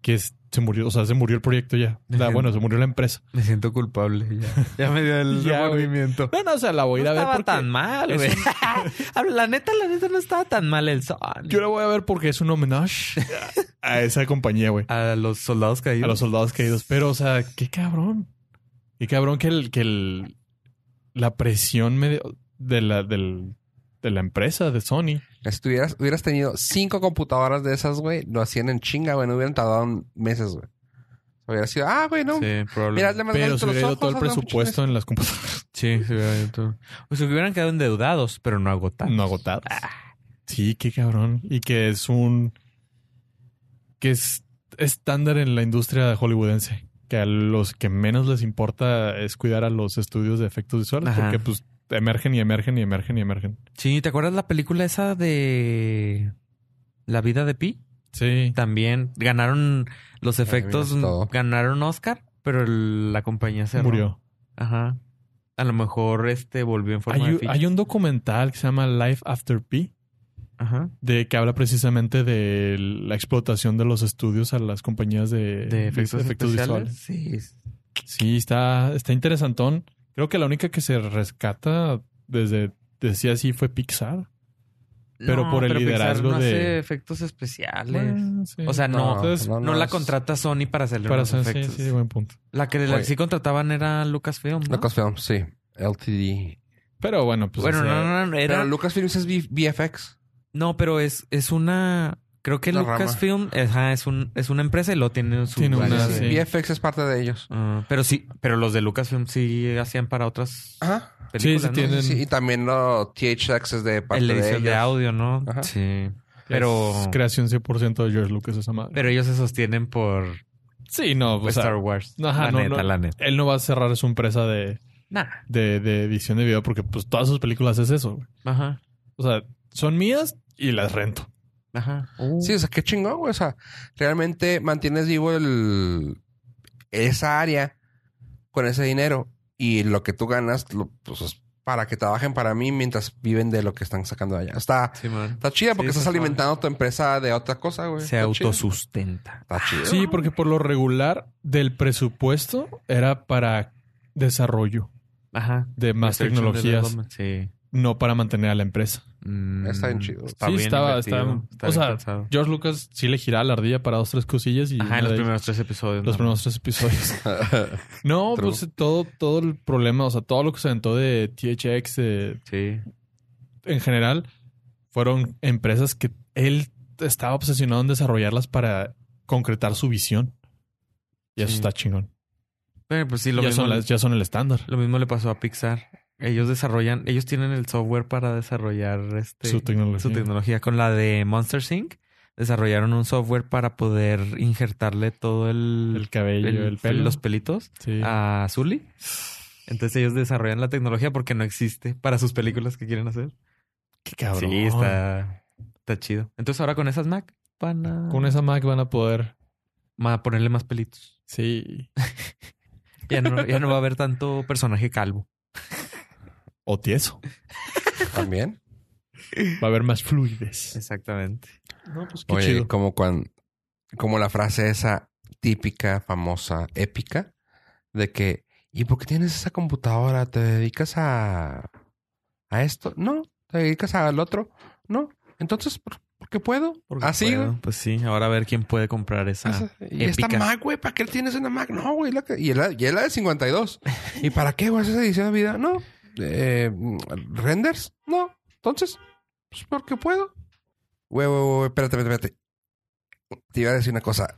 que es- se murió, o sea, se murió el proyecto ya. La- bueno, se murió la empresa. Me siento culpable. Ya, Ya me dio el Ya, güey. remordimiento. No, no, o sea, la voy a ir no a ver estaba porque tan mal, es güey. la neta, la neta no estaba tan mal el son. yo la voy a ver porque es un homenaje a a esa compañía, güey. A los soldados caídos. A los soldados caídos. Pero, o sea, qué cabrón. Qué cabrón que el, que el la presión medio de la, del, de la empresa de Sony. Si tuvieras, hubieras tenido cinco computadoras de esas, güey, lo hacían en chinga, güey. No hubieran tardado meses, güey. Hubiera sido, ah, güey, no. Sí, Mira, probablemente. hazle más Pero grandes se los hubiera ido ojos. todo el hazle más presupuesto en las computadoras. Sí, se hubiera ido todo. O sea, hubieran quedado endeudados, pero no agotados. No agotadas. Ah. Sí, qué cabrón. Y que es un. que es estándar en la industria hollywoodense. Que a los que menos les importa es cuidar a los estudios de efectos visuales Ajá. porque, pues, emergen y emergen y emergen y emergen. Sí, ¿te acuerdas la película esa de La vida de Pi? Sí. También ganaron los mira, efectos, todo. ganaron Oscar, pero el- la compañía se Murió. Ajá. A lo mejor este volvió en forma Hay, de un- ficha. hay un documental que se llama Life After P, Ajá. de que habla precisamente de la explotación de los estudios a las compañías de, De efectos, especiales. Eh, visuales. Sí. es- Sí, está, está interesantón. Creo que la única que se rescata desde decía así fue Pixar. Pero No, por el Pixar liderazgo no de- hace efectos especiales. Bueno, sí. o sea, No, pues no, no, Entonces, no, no la es- contrata Sony para hacerle para unos hacer- sí, efectos. sí, buen punto. La que la que Oye. sí contrataban era Lucasfilm. ¿no? Lucasfilm, sí. LTD. Pero bueno, pues bueno, o sea, no, no, no, era- Pero Lucasfilm es V- VFX. no, pero es, es una. Creo que Una rama. Lucasfilm ajá, es, un, es una empresa y lo tiene su. Tiene una, área Sí, de- sí. VFX es parte de ellos. Ah, pero sí, pero los de Lucasfilm sí hacían para otras Ajá. películas. Sí, sí ¿no? tienen- Sí, y también lo THX es de parte El de edición ellos. de, audio, ¿no? Ajá. Sí. es Pero, creación 100% de George Lucas esa madre. pero ellos se sostienen por sí, no, pues, o sea, Star Wars. ajá, la no, neta, no. la neta. él no va a cerrar su empresa de Nah. de, de edición de video porque pues todas sus películas es eso. güey. Ajá. O sea, son mías y las rento. Ajá. Sí, o sea, qué chingón, güey. O sea, realmente mantienes vivo el, esa área con ese dinero y lo que tú ganas, lo- pues es para que trabajen para mí mientras viven de lo que están sacando de allá. Está, Sí, man. está chida Sí, porque está estás suave. alimentando tu empresa de otra cosa, güey. Se Está chido. autosustenta. Está chido. Sí, porque por lo regular del presupuesto era para desarrollo Ajá. de más Research and tecnologías, development, Sí. no para mantener a la empresa. Mm, Está bien chido. Está sí, bien estaba, invertido, estaba- está o bien sea, pensado. George Lucas sí le giraba la ardilla para dos, tres cosillas y Ajá, una en los de- primeros tres episodios. los ¿no? primeros tres episodios. no, True. pues todo, todo el problema, o sea, todo lo que se aventó de THX, de Sí. en general fueron empresas que él estaba obsesionado en desarrollarlas para concretar su visión. Y eso Sí. está chingón. Bueno, pues sí, lo Ya mismo, son, las- ya son el estándar. lo mismo le pasó a Pixar. Ellos desarrollan, ellos tienen el software para desarrollar este Su tecnología. su tecnología con la de Monster Sync. Desarrollaron un software para poder injertarle todo el, El cabello, el, pelo. los ah, pelitos Sí. a Zully. Entonces ellos desarrollan la tecnología porque no existe para sus películas que quieren hacer. Qué cabrón. Sí, está, está chido. Entonces ahora con esas Mac van a, Con esa Mac van a poder. van a ponerle más pelitos. Sí. Ya no, ya no va a haber tanto personaje calvo. O tieso. También. Va a haber más fluidez. Exactamente. No, pues qué Oye, chido. como cuando, como la frase esa típica, famosa, épica, de que, ¿y por qué tienes esa computadora? ¿Te dedicas a, a esto? No, te dedicas al otro, no. Entonces, ¿por, por qué puedo? Porque Así, puedo. güey. Pues sí, ahora a ver quién puede comprar esa. Esa- y esta épica. Mac, güey, ¿para qué tienes una Mac? No, güey, la que- y es la, y es la de 52. ¿Y para qué, güey, haces edición de vida? No. Eh, ¿Renders? No. Entonces, pues porque puedo. Güey, güey, güey, espérate, espérate, espérate. Te iba a decir una cosa.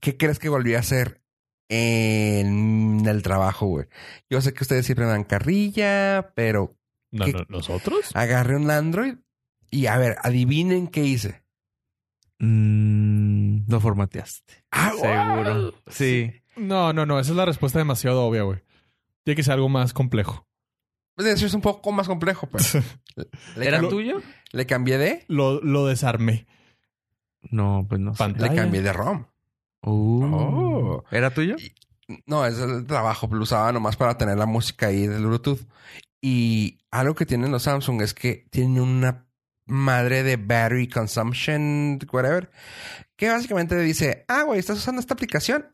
¿Qué crees que volví a hacer en el trabajo, güey? Yo sé que ustedes siempre me dan carrilla, pero No, ¿qué- no, ¿Nosotros? agarré un Android y a ver, adivinen qué hice. Mm, lo formateaste. Ah, Seguro. wow. Sí. No, no, no. Esa es la respuesta demasiado obvia, güey. Tiene que ser algo más complejo. Es decir, es un poco más complejo, pues. Le ¿Era cambié- tuyo? Le cambié de... Lo, lo desarmé. No, pues no. sé. Pantalla. Le cambié de ROM. Uh. Oh. ¿Era tuyo? No, es el trabajo. Lo usaba nomás para tener la música ahí del Bluetooth. Y algo que tienen los Samsung es que tienen una madre de battery consumption, whatever, que básicamente dice, ah, güey, estás usando esta aplicación.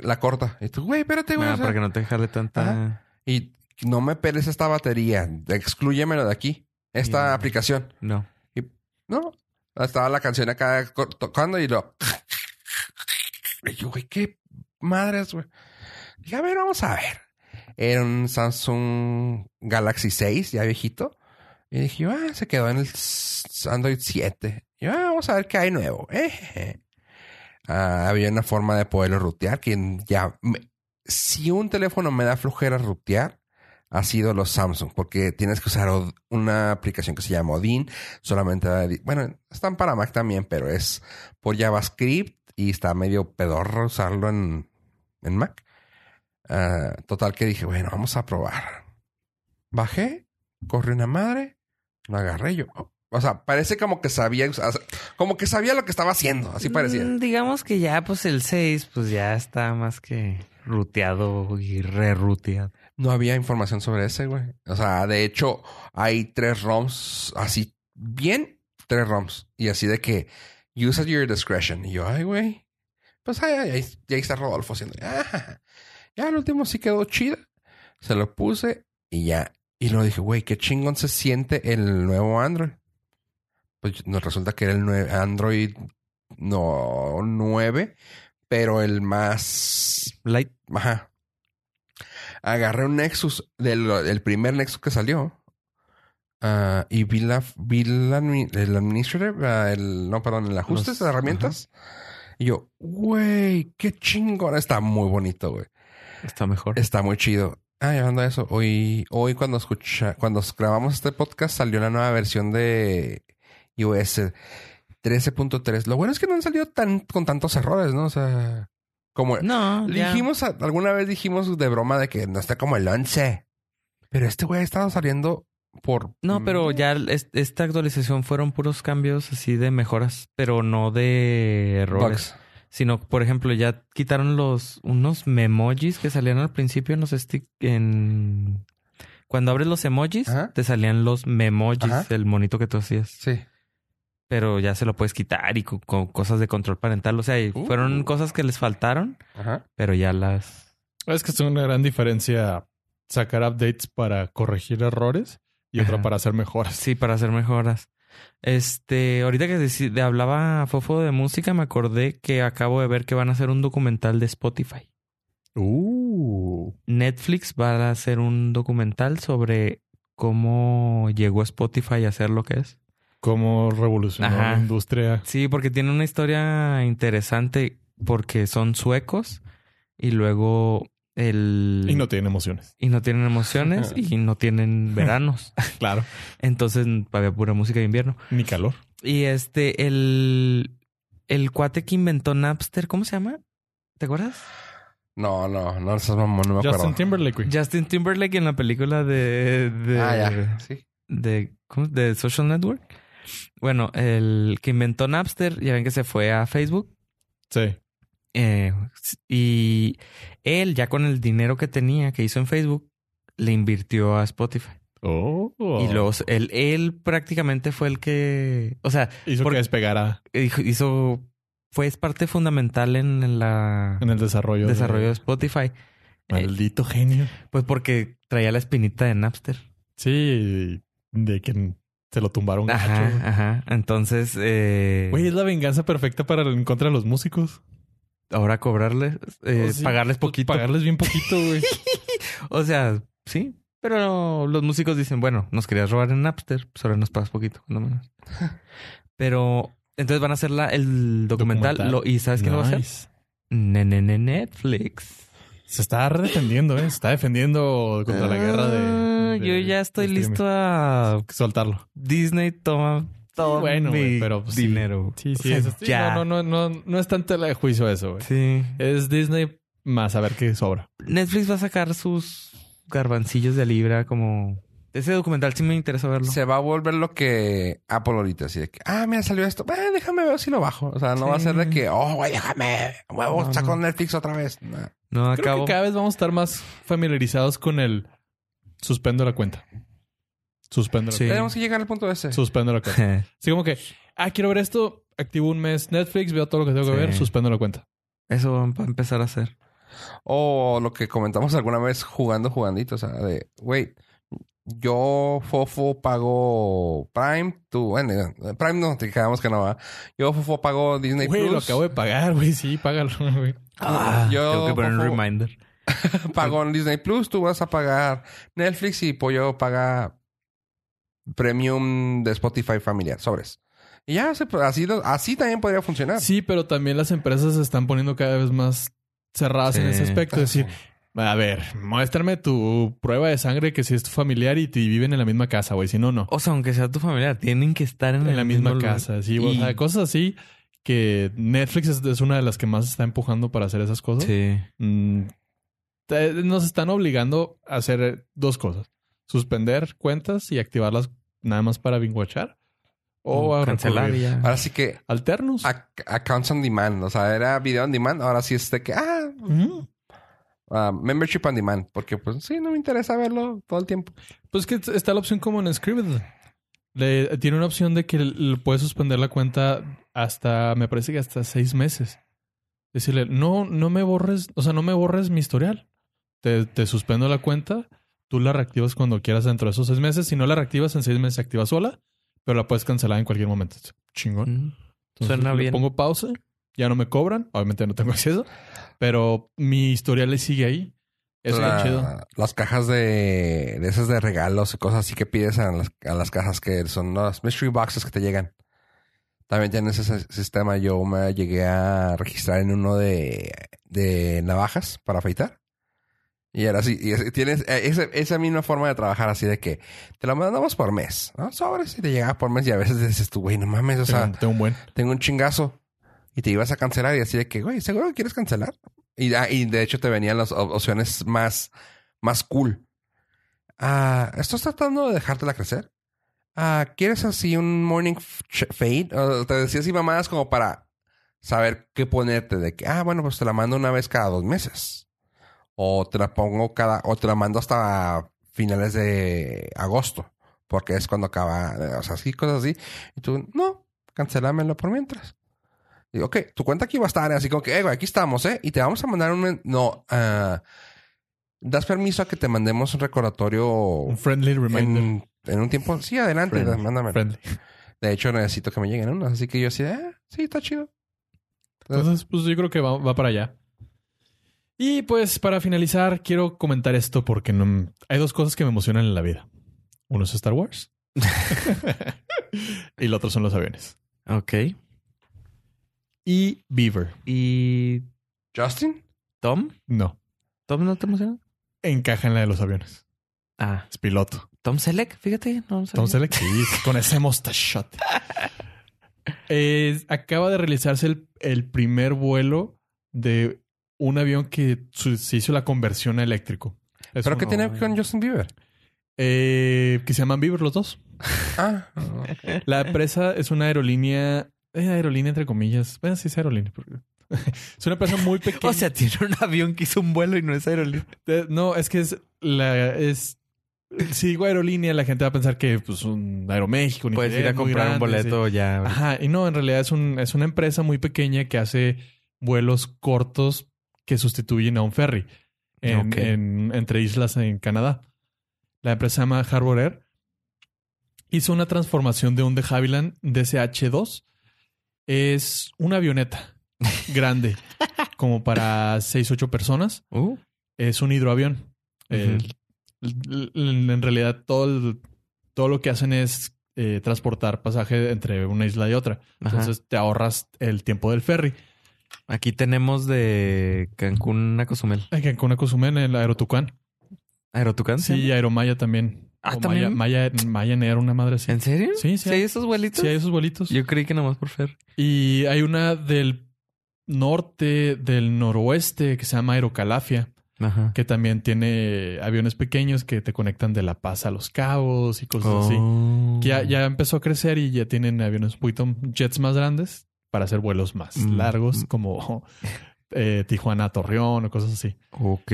La corta. Y tú, güey, espérate, güey. Ah, o sea, para que no te jale tanta. Y no me peles esta batería. Exclúyemelo de aquí. Esta Sí. aplicación. No. No. Estaba la canción acá co- tocando y lo. Y yo, güey, qué madres, güey. Dije, a ver, vamos a ver. Era un Samsung Galaxy 6, ya viejito. Y dije, yo, ah, se quedó en el s- Android 7. Y yo, ah, vamos a ver qué hay nuevo. Eh, eh. ah, había una forma de poderlo rutear. Que ya. me- si un teléfono me da flojera rutear, ha sido los Samsung, porque tienes que usar od- una aplicación que se llama Odin. Solamente. da- Bueno, están para Mac también, pero es por JavaScript y está medio pedorro usarlo en, en Mac. Ah, total, que dije, bueno, vamos a probar. Bajé, corrí una madre, lo agarré yo. O sea, parece como que sabía, usar- como que sabía lo que estaba haciendo, así parecía. Mm, digamos que ya, pues el 6, pues ya está más que ruteado y reruteado. No había información sobre ese, güey. O sea, de hecho, hay tres ROMs así, bien, tres ROMs. Y así de que, use at your discretion. Y yo, ay, güey. Pues ay, ay, ahí, y ahí está Rodolfo haciendo. "Ah". ya el último sí quedó chida. Se lo puse y ya. Y luego dije, güey, qué chingón se siente el nuevo Android. Pues nos resulta que era el nue- Android no 9, pero el más Light. Ajá. Agarré un Nexus del, del primer Nexus que salió. ah, y vi la vi la admi- el administrative, ah, el no, perdón, el ajuste Los- de herramientas. Y yo, güey, qué chingón. Está muy bonito, güey. Está mejor. Está muy chido. Ah, y hablando de eso, hoy, hoy cuando escucha, cuando grabamos este podcast salió la nueva versión de iOS 13.3. Lo bueno es que no han salido tan, con tantos errores, ¿no? O sea, como No, ya. Dijimos, a- alguna vez dijimos de broma de que no está como el 11. Pero este güey ha estado saliendo por... No, pero ya es- esta actualización fueron puros cambios así de mejoras, pero no de errores. Bugs. Sino, por ejemplo, ya quitaron los unos memojis que salían al principio en los stick en cuando abres los emojis, Ajá. te salían los memojis, Ajá. el monito que tú hacías. Sí. Pero ya se lo puedes quitar y con, con cosas de control parental. O sea, y Uh. fueron cosas que les faltaron, Ajá. pero ya las. Es que es una gran diferencia sacar updates para corregir errores y otra Ajá. para hacer mejoras. Sí, para hacer mejoras. Este, ahorita que deci- de- hablaba Fofo de música, me acordé que acabo de ver que van a hacer un documental de Spotify. Uh. Netflix va a hacer un documental sobre cómo llegó Spotify a ser lo que es. Cómo revolucionó Ajá. la industria. Sí, porque tiene una historia interesante porque son suecos y luego el... Y no tiene emociones. y no tienen emociones y no tienen veranos. Claro. Entonces había pura música de invierno. Ni calor. Y este, el, el cuate que inventó Napster, ¿cómo se llama? ¿Te acuerdas? No, no, no, seas mamón, no me acuerdo. Justin Timberlake. güey. Justin Timberlake en la película de. de Ah, ya. Sí. de, ¿cómo? de Social Network. Bueno, el que inventó Napster, ya ven que se fue a Facebook. Sí. eh, y él, ya con el dinero que tenía, que hizo en Facebook, le invirtió a Spotify. Oh. Y luego él, él prácticamente fue el que. O sea, Hizo porque- que despegara hizo- hizo. Fue es parte fundamental en, en la en el desarrollo. de- desarrollo de Spotify. Eh, Maldito genio. pues porque traía la espinita de Napster. Sí. De que se lo tumbaron. gacho, Ajá, güey. ajá. Entonces, eh, Güey, es la venganza perfecta para el, en contra de los músicos. ahora cobrarles, eh, Oh, sí. pagarles poquito. Pagarles bien poquito, güey. O sea, sí. Pero los músicos dicen, bueno, nos querías robar en Napster, pues ahora nos pagas poquito, cuando menos. Pero entonces van a hacer la, el documental, Documental. Lo, y ¿sabes qué lo va a hacer? Nice. Ne- ne- ne- Netflix. Se está defendiendo, ¿eh? Se está defendiendo contra la guerra Ah, de... este de- Yo ya estoy de listo streaming. a Soltarlo. Disney toma todo bueno, mi güey, pero, pues, sí. dinero. Sí, O sí. sea, eso sí, ya. No, no, no, no, no es tan tela de juicio eso, güey. Sí. Es Disney más a ver qué sobra. Netflix va a sacar sus garbancillos de libra como... Ese documental sí me interesa verlo. Se va a volver lo que Apple ahorita, así de que, ah, mira, salió esto. Eh, déjame ver si lo bajo. O sea, no va a ser de Sí. que, oh, güey, déjame. Huevo, No, saco no. Netflix otra vez. No. no Creo acabo. que cada vez vamos a estar más familiarizados con el suspendo la cuenta. Suspendo la Sí. Tenemos que llegar al punto ese. cuenta. Suspendo la cuenta. Así como que, ah, quiero ver esto, activo un mes Netflix, veo todo lo que tengo que Sí. ver, suspendo la cuenta. Eso va a empezar a hacer. O lo que comentamos alguna vez jugando jugandito, o sea, de, güey, yo Fofo pago Prime, tú, bueno, eh, Prime no, te quedamos que no va. Yo Fofo pago Disney Güey, Plus. lo acabo de pagar, güey, sí, págalo, güey. Ah, yo, Ah, tengo que poner un por favor. reminder. Pago en Disney Plus, tú vas a pagar Netflix y Pollo paga Premium de Spotify familiar, sobres. Y ya, se- así, lo- así también podría funcionar. Sí, pero también las empresas se están poniendo cada vez más cerradas en Sí. ese aspecto. Es decir, a ver, muéstrame tu prueba de sangre que si es tu familiar y, te- y viven en la misma casa, güey. Si no, no. O sea, aunque sea tu familiar, tienen que estar en, En la el misma mismo lugar. casa, sí. O Y- sea, cosas así que Netflix es, es una de las que más está empujando para hacer esas cosas. Sí. Mm, te- nos están obligando a hacer eh, dos cosas. Suspender cuentas y activarlas nada más para binguachar. O Oh, a Mm, cancelar y recurrir ya. Ahora sí que Alternos. ac- accounts on demand. O sea, era video on demand. Ahora sí es de que, ah, Ujú. ah, membership on demand. Porque pues sí, no me interesa verlo todo el tiempo. Pues que t- está la opción como en Scribd. Le- tiene una opción de que l- puedes suspender la cuenta hasta, me parece que hasta seis meses. Decirle, no, no me borres, o sea, no me borres mi historial. Te, te suspendo la cuenta, tú la reactivas cuando quieras dentro de esos seis meses. Si no la reactivas, en seis meses se activa sola, pero la puedes cancelar en cualquier momento. Chingón. Mm. Entonces, Suena le bien. pongo pausa, ya no me cobran, obviamente no tengo acceso, pero mi historial le sigue ahí. Eso La- es chido. Las cajas de, de esas de regalos y cosas así que pides a las, a las cajas que son las mystery boxes que te llegan. También tienen ese s- sistema. Yo me llegué a registrar en uno de, de navajas para afeitar. Y ahora sí, y es- tienes eh, ese- esa misma forma de trabajar así de que te lo mandamos por mes, ¿no? Sobres y te llegaba por mes y a veces dices tú, güey, no mames, o sea, tengo un buen. tengo un chingazo. Y te ibas a cancelar y así de que, güey, ¿seguro que quieres cancelar? Y, ah, y de hecho te venían las op- opciones más, más cool. Ah, ¿estás tratando de dejártela crecer? Ah, ¿quieres así un morning f- ch- fade? O te decía así mamadas como para saber qué ponerte de que, ah, bueno, pues te la mando una vez cada dos meses. O te la pongo cada, o te la mando hasta finales de agosto, porque es cuando acaba, o sea, así, cosas así. Y tú, no, cancelámelo por mientras. Y, ok, tu cuenta aquí va a estar así como que, eh, güey, aquí estamos, ¿eh? Y te vamos a mandar un... men- No, ah, ¿das permiso a que te mandemos un recordatorio Un friendly reminder. en, en un tiempo? Sí, adelante, Friendly. mándamelo. Friendly. De hecho, necesito que me lleguen unos. Así que yo así, ah, sí, está chido. Entonces, pues yo creo que va, va para allá. Y pues para finalizar, quiero comentar esto porque no, hay dos cosas que me emocionan en la vida. Uno es Star Wars y el otro son los aviones. Ok. Y Beaver. ¿Y ¿Justin? Tom? No, ¿Tom no te emociona? encaja en la de los aviones. Ah. Es piloto. Tom Selleck, fíjate. No, no sabía. Entonces, le- sí, con ese mostachote. Eh, acaba de realizarse el, el primer vuelo de un avión que su- se hizo la conversión a eléctrico. Es ¿Pero un- qué tiene güey. con Justin Bieber? Eh, que se llaman Beaver los dos. Ah, Eh, La empresa es una aerolínea, eh, aerolínea entre comillas. Bueno, sí es aerolínea. porque- es una empresa muy pequeña. O sea, tiene un avión que hizo un vuelo y no es aerolínea. Eh, no, es que es la es si digo aerolínea, la gente va a pensar que pues un Aeroméxico. un Puedes ir Interjet a muy comprar un grande, sí. Ah. boleto ya. Ajá, y no, en realidad es un, es una empresa muy pequeña que hace vuelos cortos que sustituyen a un ferry en- Ok. en- entre islas en Canadá. La empresa se llama Harbor Air. Hizo una transformación de un de Havilland DCH-2. Es una avioneta grande, como para 6, 8 personas. Uh, Es un hidroavión. Eh, Ujú. l- l- en realidad, todo, el- todo lo que hacen es eh, transportar pasaje entre una isla y otra. ajá. Entonces te ahorras el tiempo del ferry. aquí tenemos de Cancún a Cozumel. En Cancún a Cozumel, en el Aerotucán. ¿Aerotucán? se Sí, y llama? Aeromaya también. Ah, O ¿también? Maya, Maya, Maya Air, una madre así. ¿En serio? Sí, sí. ¿Sí hay esos vuelitos? Sí, hay esos vuelitos. Yo creí que nomás por Fer. Y hay una del norte, del noroeste, que se llama Aerocalafia, Ajá. que también tiene aviones pequeños que te conectan de La Paz a Los Cabos y cosas así. Oh. Que ya, ya empezó a crecer y ya tienen aviones un poquito jets más grandes para hacer vuelos más Mm. largos, como eh, Tijuana a Torreón o cosas así. Ok.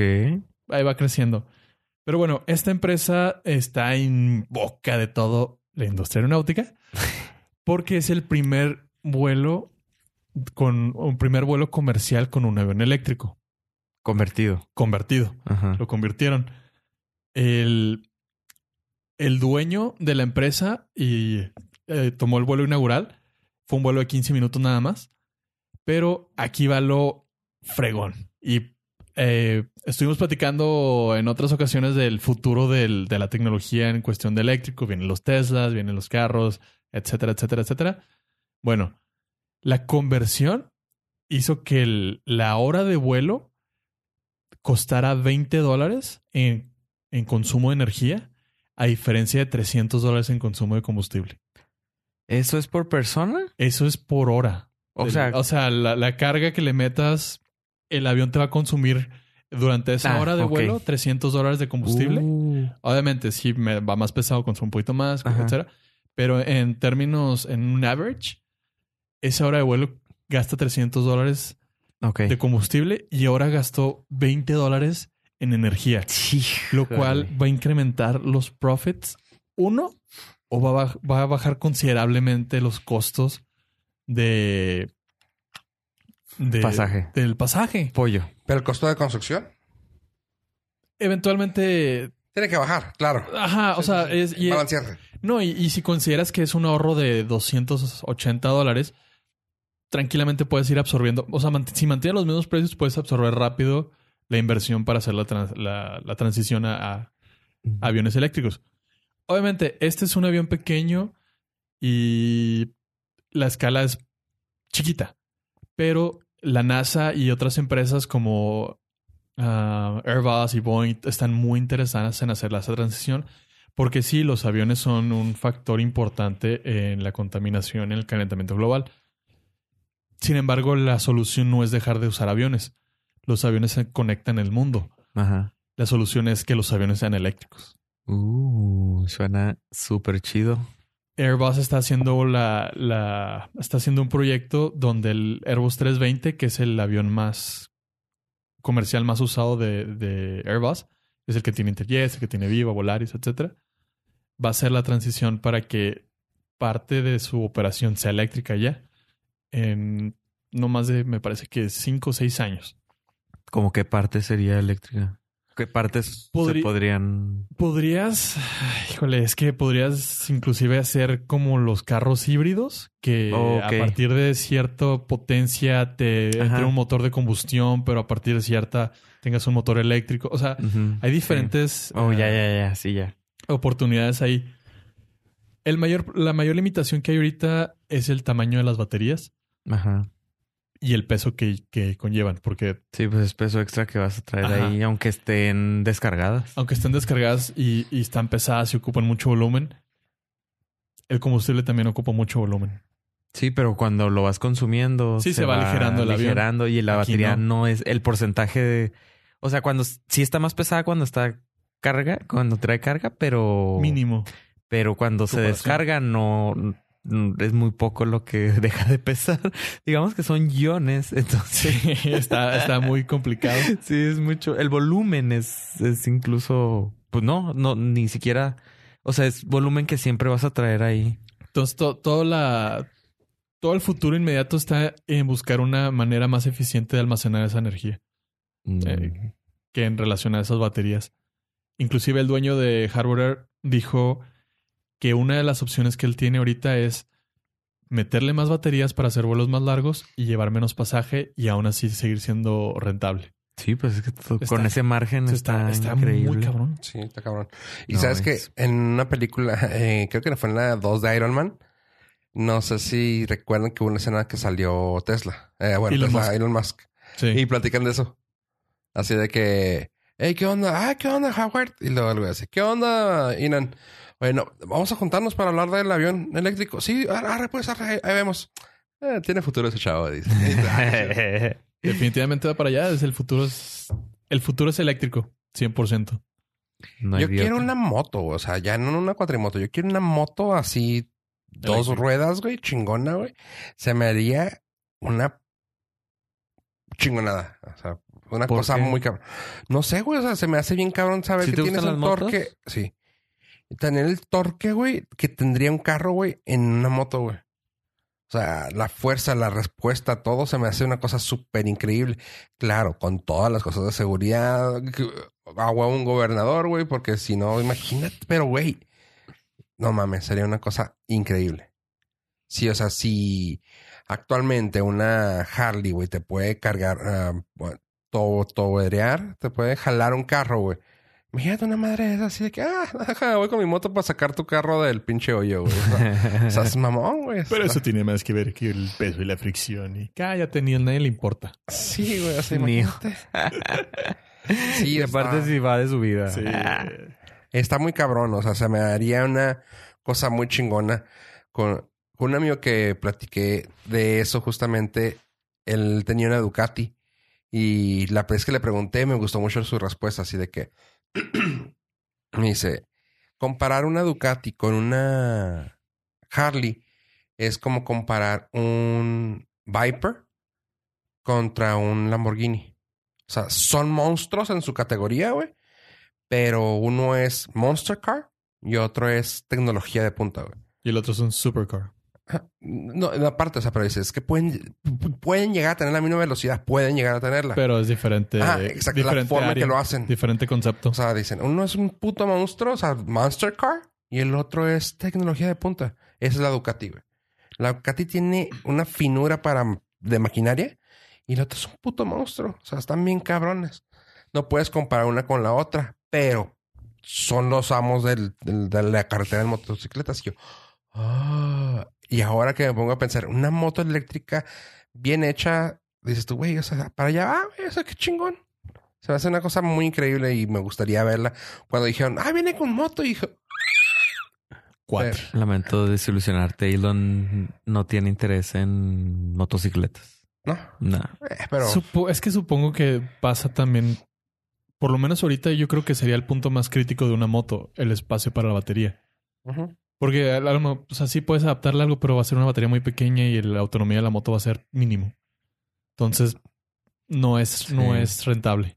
Ahí va creciendo. Pero bueno, esta empresa está en boca de todo la industria aeronáutica porque es el primer vuelo con un primer vuelo comercial con un avión eléctrico Convertido. convertido Ajá. lo convirtieron. El, el dueño de la empresa y eh, tomó el vuelo inaugural. Fue un vuelo de 15 minutos nada más. Pero aquí va lo fregón. Y eh, estuvimos platicando en otras ocasiones del futuro del- de la tecnología en cuestión de eléctrico. Vienen los Teslas, vienen los carros, etcétera, etcétera, etcétera. Bueno, la conversión hizo que el- la hora de vuelo costara 20 dólares en, en consumo de energía, a diferencia de 300 dólares en consumo de combustible. ¿Eso es por persona? Eso es por hora. O El- sea, la, la carga que le metas, el avión te va a consumir durante esa Ah, hora de ok. vuelo 300 dólares de combustible. uh, Obviamente, sí, me va más pesado, consume un poquito más, Ajá. etcétera. Pero en términos, en un average, esa hora de vuelo gasta 300 dólares ok. de combustible y ahora gastó 20 dólares en energía, lo cual va a incrementar los profits, uno, o va a, baj- va a bajar considerablemente los costos de, de- Pasaje. del pasaje. Pollo. Pero el costo de construcción Eventualmente, tiene que bajar, claro. ajá, o Sí, sea, sí, sí. es, y- Balancearse. No, y, y si consideras que es un ahorro de 280 dólares, tranquilamente puedes ir absorbiendo. O sea, mant- si mantienes los mismos precios, puedes absorber rápido la inversión para hacer la, trans- la- la transición a, a aviones eléctricos. Obviamente, este es un avión pequeño y la escala es chiquita, pero la NASA y otras empresas como ah, Airbus y Boeing están muy interesadas en hacer esa transición porque sí, los aviones son un factor importante en la contaminación, en el calentamiento global. Sin embargo, la solución no es dejar de usar aviones. Los aviones se conectan el mundo. Ajá. La solución es que los aviones sean eléctricos. Uh, suena súper chido. Airbus está haciendo la, la- está haciendo un proyecto donde el Airbus 320, que es el avión más comercial más usado de, de Airbus, es el que tiene Interjet, el que tiene Viva, Volaris, etcétera, va a ser la transición para que parte de su operación sea eléctrica ya en no más de me parece que cinco o seis años. ¿Cómo qué parte sería eléctrica? ¿Qué partes Podri- se podrían...? Podrías, híjole, es que podrías inclusive hacer como los carros híbridos, que Ok. a partir de cierta potencia te Ajá. entre un motor de combustión, pero a partir de cierta tengas un motor eléctrico. O sea, Ujú. hay diferentes Oh, ya, eh, ya, ya. Sí, ya. oportunidades ahí. El mayor, la mayor limitación que hay ahorita es el tamaño de las baterías Ajá. y el peso que, que conllevan, porque Sí, pues es peso extra que vas a traer Ajá. ahí, aunque estén descargadas. aunque estén descargadas y, y están pesadas y ocupan mucho volumen, el combustible también ocupa mucho volumen. Sí, pero cuando lo vas consumiendo. Sí, se va aligerando el avión. aligerando y la Aquí batería no. no. es el porcentaje de. O sea, cuando sí está más pesada cuando está carga, cuando trae carga, pero. Mínimo. Pero cuando se Comparación. descarga, no. n- Es muy poco lo que deja de pesar. Digamos que son iones, entonces. Sí, está, está muy complicado. Sí, es mucho. El volumen es, es incluso. Pues no, no, ni siquiera. O sea, es volumen que siempre vas a traer ahí. Entonces, to- todo, la, todo el futuro inmediato está en buscar una manera más eficiente de almacenar esa energía Mm. Eh, que en relación a esas baterías. Inclusive el dueño de Harvard Air dijo que una de las opciones que él tiene ahorita es meterle más baterías para hacer vuelos más largos y llevar menos pasaje y aún así seguir siendo rentable. Sí, pues es que t- Está- con ese margen Entonces, está, Mm, está, está increíble. muy cabrón. Sí, está cabrón. Y No, sabes es- que en una película, eh, creo que fue en la 2 de Iron Man, no sé si recuerdan que hubo una escena que salió Tesla. Eh, bueno, Elon Tesla, Musk. Elon Musk. Sí. Y platican de eso. Así de que, hey, ¿qué onda? Ah, ¿qué onda, Howard? Y luego el güey dice, ¿qué onda, Inan? Bueno, vamos a juntarnos para hablar del avión eléctrico. Sí, ar- arre, pues, arre, ahí vemos. Eh, tiene futuro ese chavo, dice. "Ah, Definitivamente va para allá. Es el futuro es, el futuro es eléctrico, 100%. No hay yo de quiero otra. una moto, o sea, ya no una cuatrimoto. Yo quiero una moto así, dos Eléctrica. ruedas, güey, chingona, güey. Se me haría una chingonada. O sea, una ¿Por cosa qué? muy cabrón. No sé, güey, o sea, se me hace bien cabrón saber ¿Sí que te tienes gustan un las motos? torque. Sí. Tener el torque, güey, que tendría un carro, güey, en una moto, güey. O sea, la fuerza, la respuesta, todo se me hace una cosa súper increíble. Claro, con todas las cosas de seguridad, que- a huevo un gobernador, güey, porque si no, imagínate, pero güey, no mames, sería una cosa increíble. Sí, o sea, si actualmente una Harley, güey, te puede cargar, ah, bueno, to- toberear, te puede jalar un carro, güey. Imagínate una madre esa así de que, ah, ajá, voy con mi moto para sacar tu carro del pinche hoyo, güey. O sea, o sea, es mamón, güey. Pero Está- Ah. eso tiene más que ver que el peso y la fricción. Y... Cállate, ni ah, a nadie le importa. Sí, güey, así Ni- imagínate. Sí, y aparte está, si va de su vida. Sí. está muy cabrón, o sea, se me haría una cosa muy chingona con, con un amigo que platiqué de eso justamente. Él tenía una Ducati y la vez que le pregunté me gustó mucho su respuesta, así de que me dice, comparar una Ducati con una Harley es como comparar un Viper contra un Lamborghini. O sea, son monstruos en su categoría, güey. Pero uno es Monster Car y otro es tecnología de punta, güey. Y el otro es un supercar. Ajá. No, no, aparte, o sea, pero dices que pueden, pu- pueden llegar a tener la misma velocidad, pueden llegar a tenerla. Pero es diferente. Ah, exacto, la diferente forma área, que lo hacen. Diferente concepto. O sea, dicen, uno es un puto monstruo, o sea, Monster Car, y el otro es tecnología de punta. Esa es la Ducati, güey. La Ducati tiene una finura para, de maquinaria y el otro es un puto monstruo. O sea, están bien cabrones. No puedes comparar una con la otra, pero son los amos del- del- de la carretera de motocicletas. Y yo, ah. Y ahora que me pongo a pensar, una moto eléctrica bien hecha, dices tú, güey, o sea, para allá, ah, güey, o sea, qué chingón. Se me hace una cosa muy increíble y me gustaría verla. Cuando dijeron, ah, viene con moto, y dijo, Cuatro. Lamento desilusionarte. Elon no tiene interés en motocicletas. no, No. eh, pero Supo- es que supongo que pasa también. Por lo menos ahorita yo creo que sería el punto más crítico de una moto, el espacio para la batería. ujú, Porque a lo mejor, pues así puedes adaptarle algo, pero va a ser una batería muy pequeña y la autonomía de la moto va a ser mínimo. Entonces, no es, no Sí. es rentable.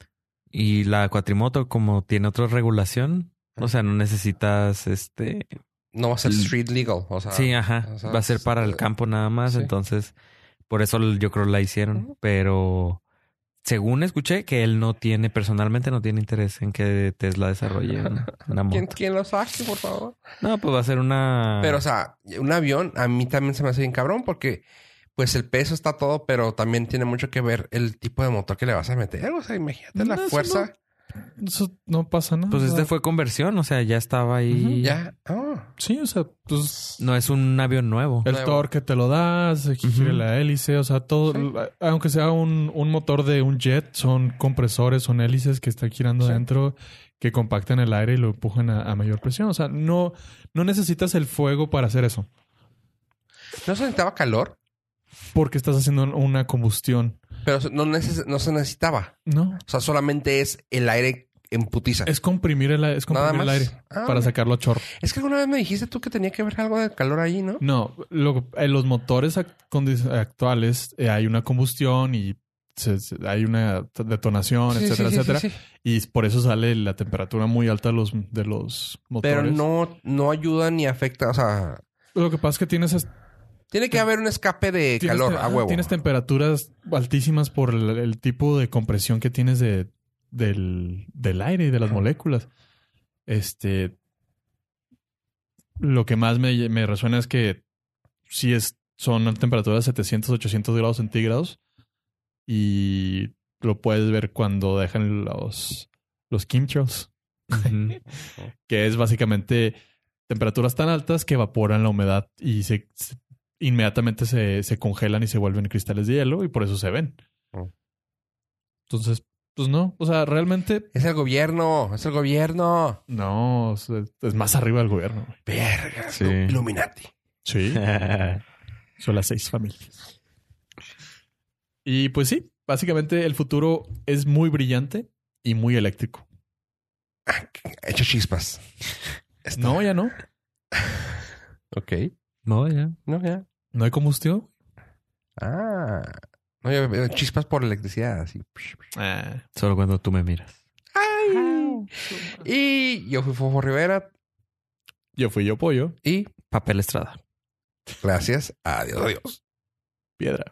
Y la cuatrimoto, como tiene otra regulación, o sea, no necesitas este. no va a ser street legal. O sea, sí, ajá. o sea, Va a ser para el campo nada más. eh, sí. Entonces, por eso yo creo la hicieron. Pero según escuché, que él no tiene, personalmente no tiene interés en que Tesla desarrolle una- una ¿quién, moto. ¿Quién lo saque, por favor? No, pues va a ser Ah. una. Pero, o sea, un avión a mí también se me hace bien cabrón porque, pues, el peso está todo, pero también tiene mucho que ver el tipo de motor que le vas a meter. O sea, imagínate la No, eso fuerza. Eso no pasa nada. Pues este fue conversión, o sea, ya estaba ahí. Ya. ah, Sí, o sea, pues No es un avión nuevo. el Nuevo. torque te lo das, se gira Ujú. la hélice, o sea, todo, Sí. la- aunque sea un, un motor de un jet, son compresores, son hélices que están girando Sí. adentro, que compactan el aire y lo empujan a, a mayor presión. O sea, no, no necesitas el fuego para hacer eso, No se necesitaba calor, porque estás haciendo un- una combustión. pero no, neces- no se necesitaba. No, O sea, solamente es el aire en putiza. es comprimir el, a- es Nada comprimir el más. aire Ah, para mira. sacarlo a chorro. Es que alguna vez me dijiste tú que tenía que ver algo de calor ahí, ¿no? No, lo- eh, los motores ac- condi- actuales eh, hay una combustión y se- se- hay una t- detonación, Sí, sí, etcétera, sí, sí, etcétera. sí. Y por eso sale la temperatura muy alta de los, de los motores. Pero no, no ayuda ni afecta. O sea, Lo que pasa es que tienes... es- tiene que haber un escape de tienes calor a te- ajá, huevo. Tienes este- temperaturas altísimas por el, el tipo de compresión que tienes de, del, del aire y de las moléculas. Este... Lo que más me, me resuena es que si es, son temperaturas de 700, 800 grados centígrados y lo puedes ver cuando dejan los, los chemtrails. Ujú. que es básicamente temperaturas tan altas que evaporan la humedad y se, se- inmediatamente se, se congelan y se vuelven cristales de hielo y por eso se ven. Oh. Entonces, pues no, o sea, realmente Es el gobierno, es el gobierno. no, o sea, es más arriba del gobierno. güey. Verga, Sí. Ilu- Illuminati. Sí, son las seis familias. Y pues sí, básicamente el futuro es muy brillante y muy eléctrico. Hecho chispas. Está- No, ya no, Ok. no, ya. No, ya. no hay combustión. Ah. No, ya veo chispas por electricidad. Así. Solo cuando tú me miras. Ay. Y yo fui Fofo Rivera. Yo fui yo pollo, Y Papel Estrada. gracias. Adiós, adiós. piedra.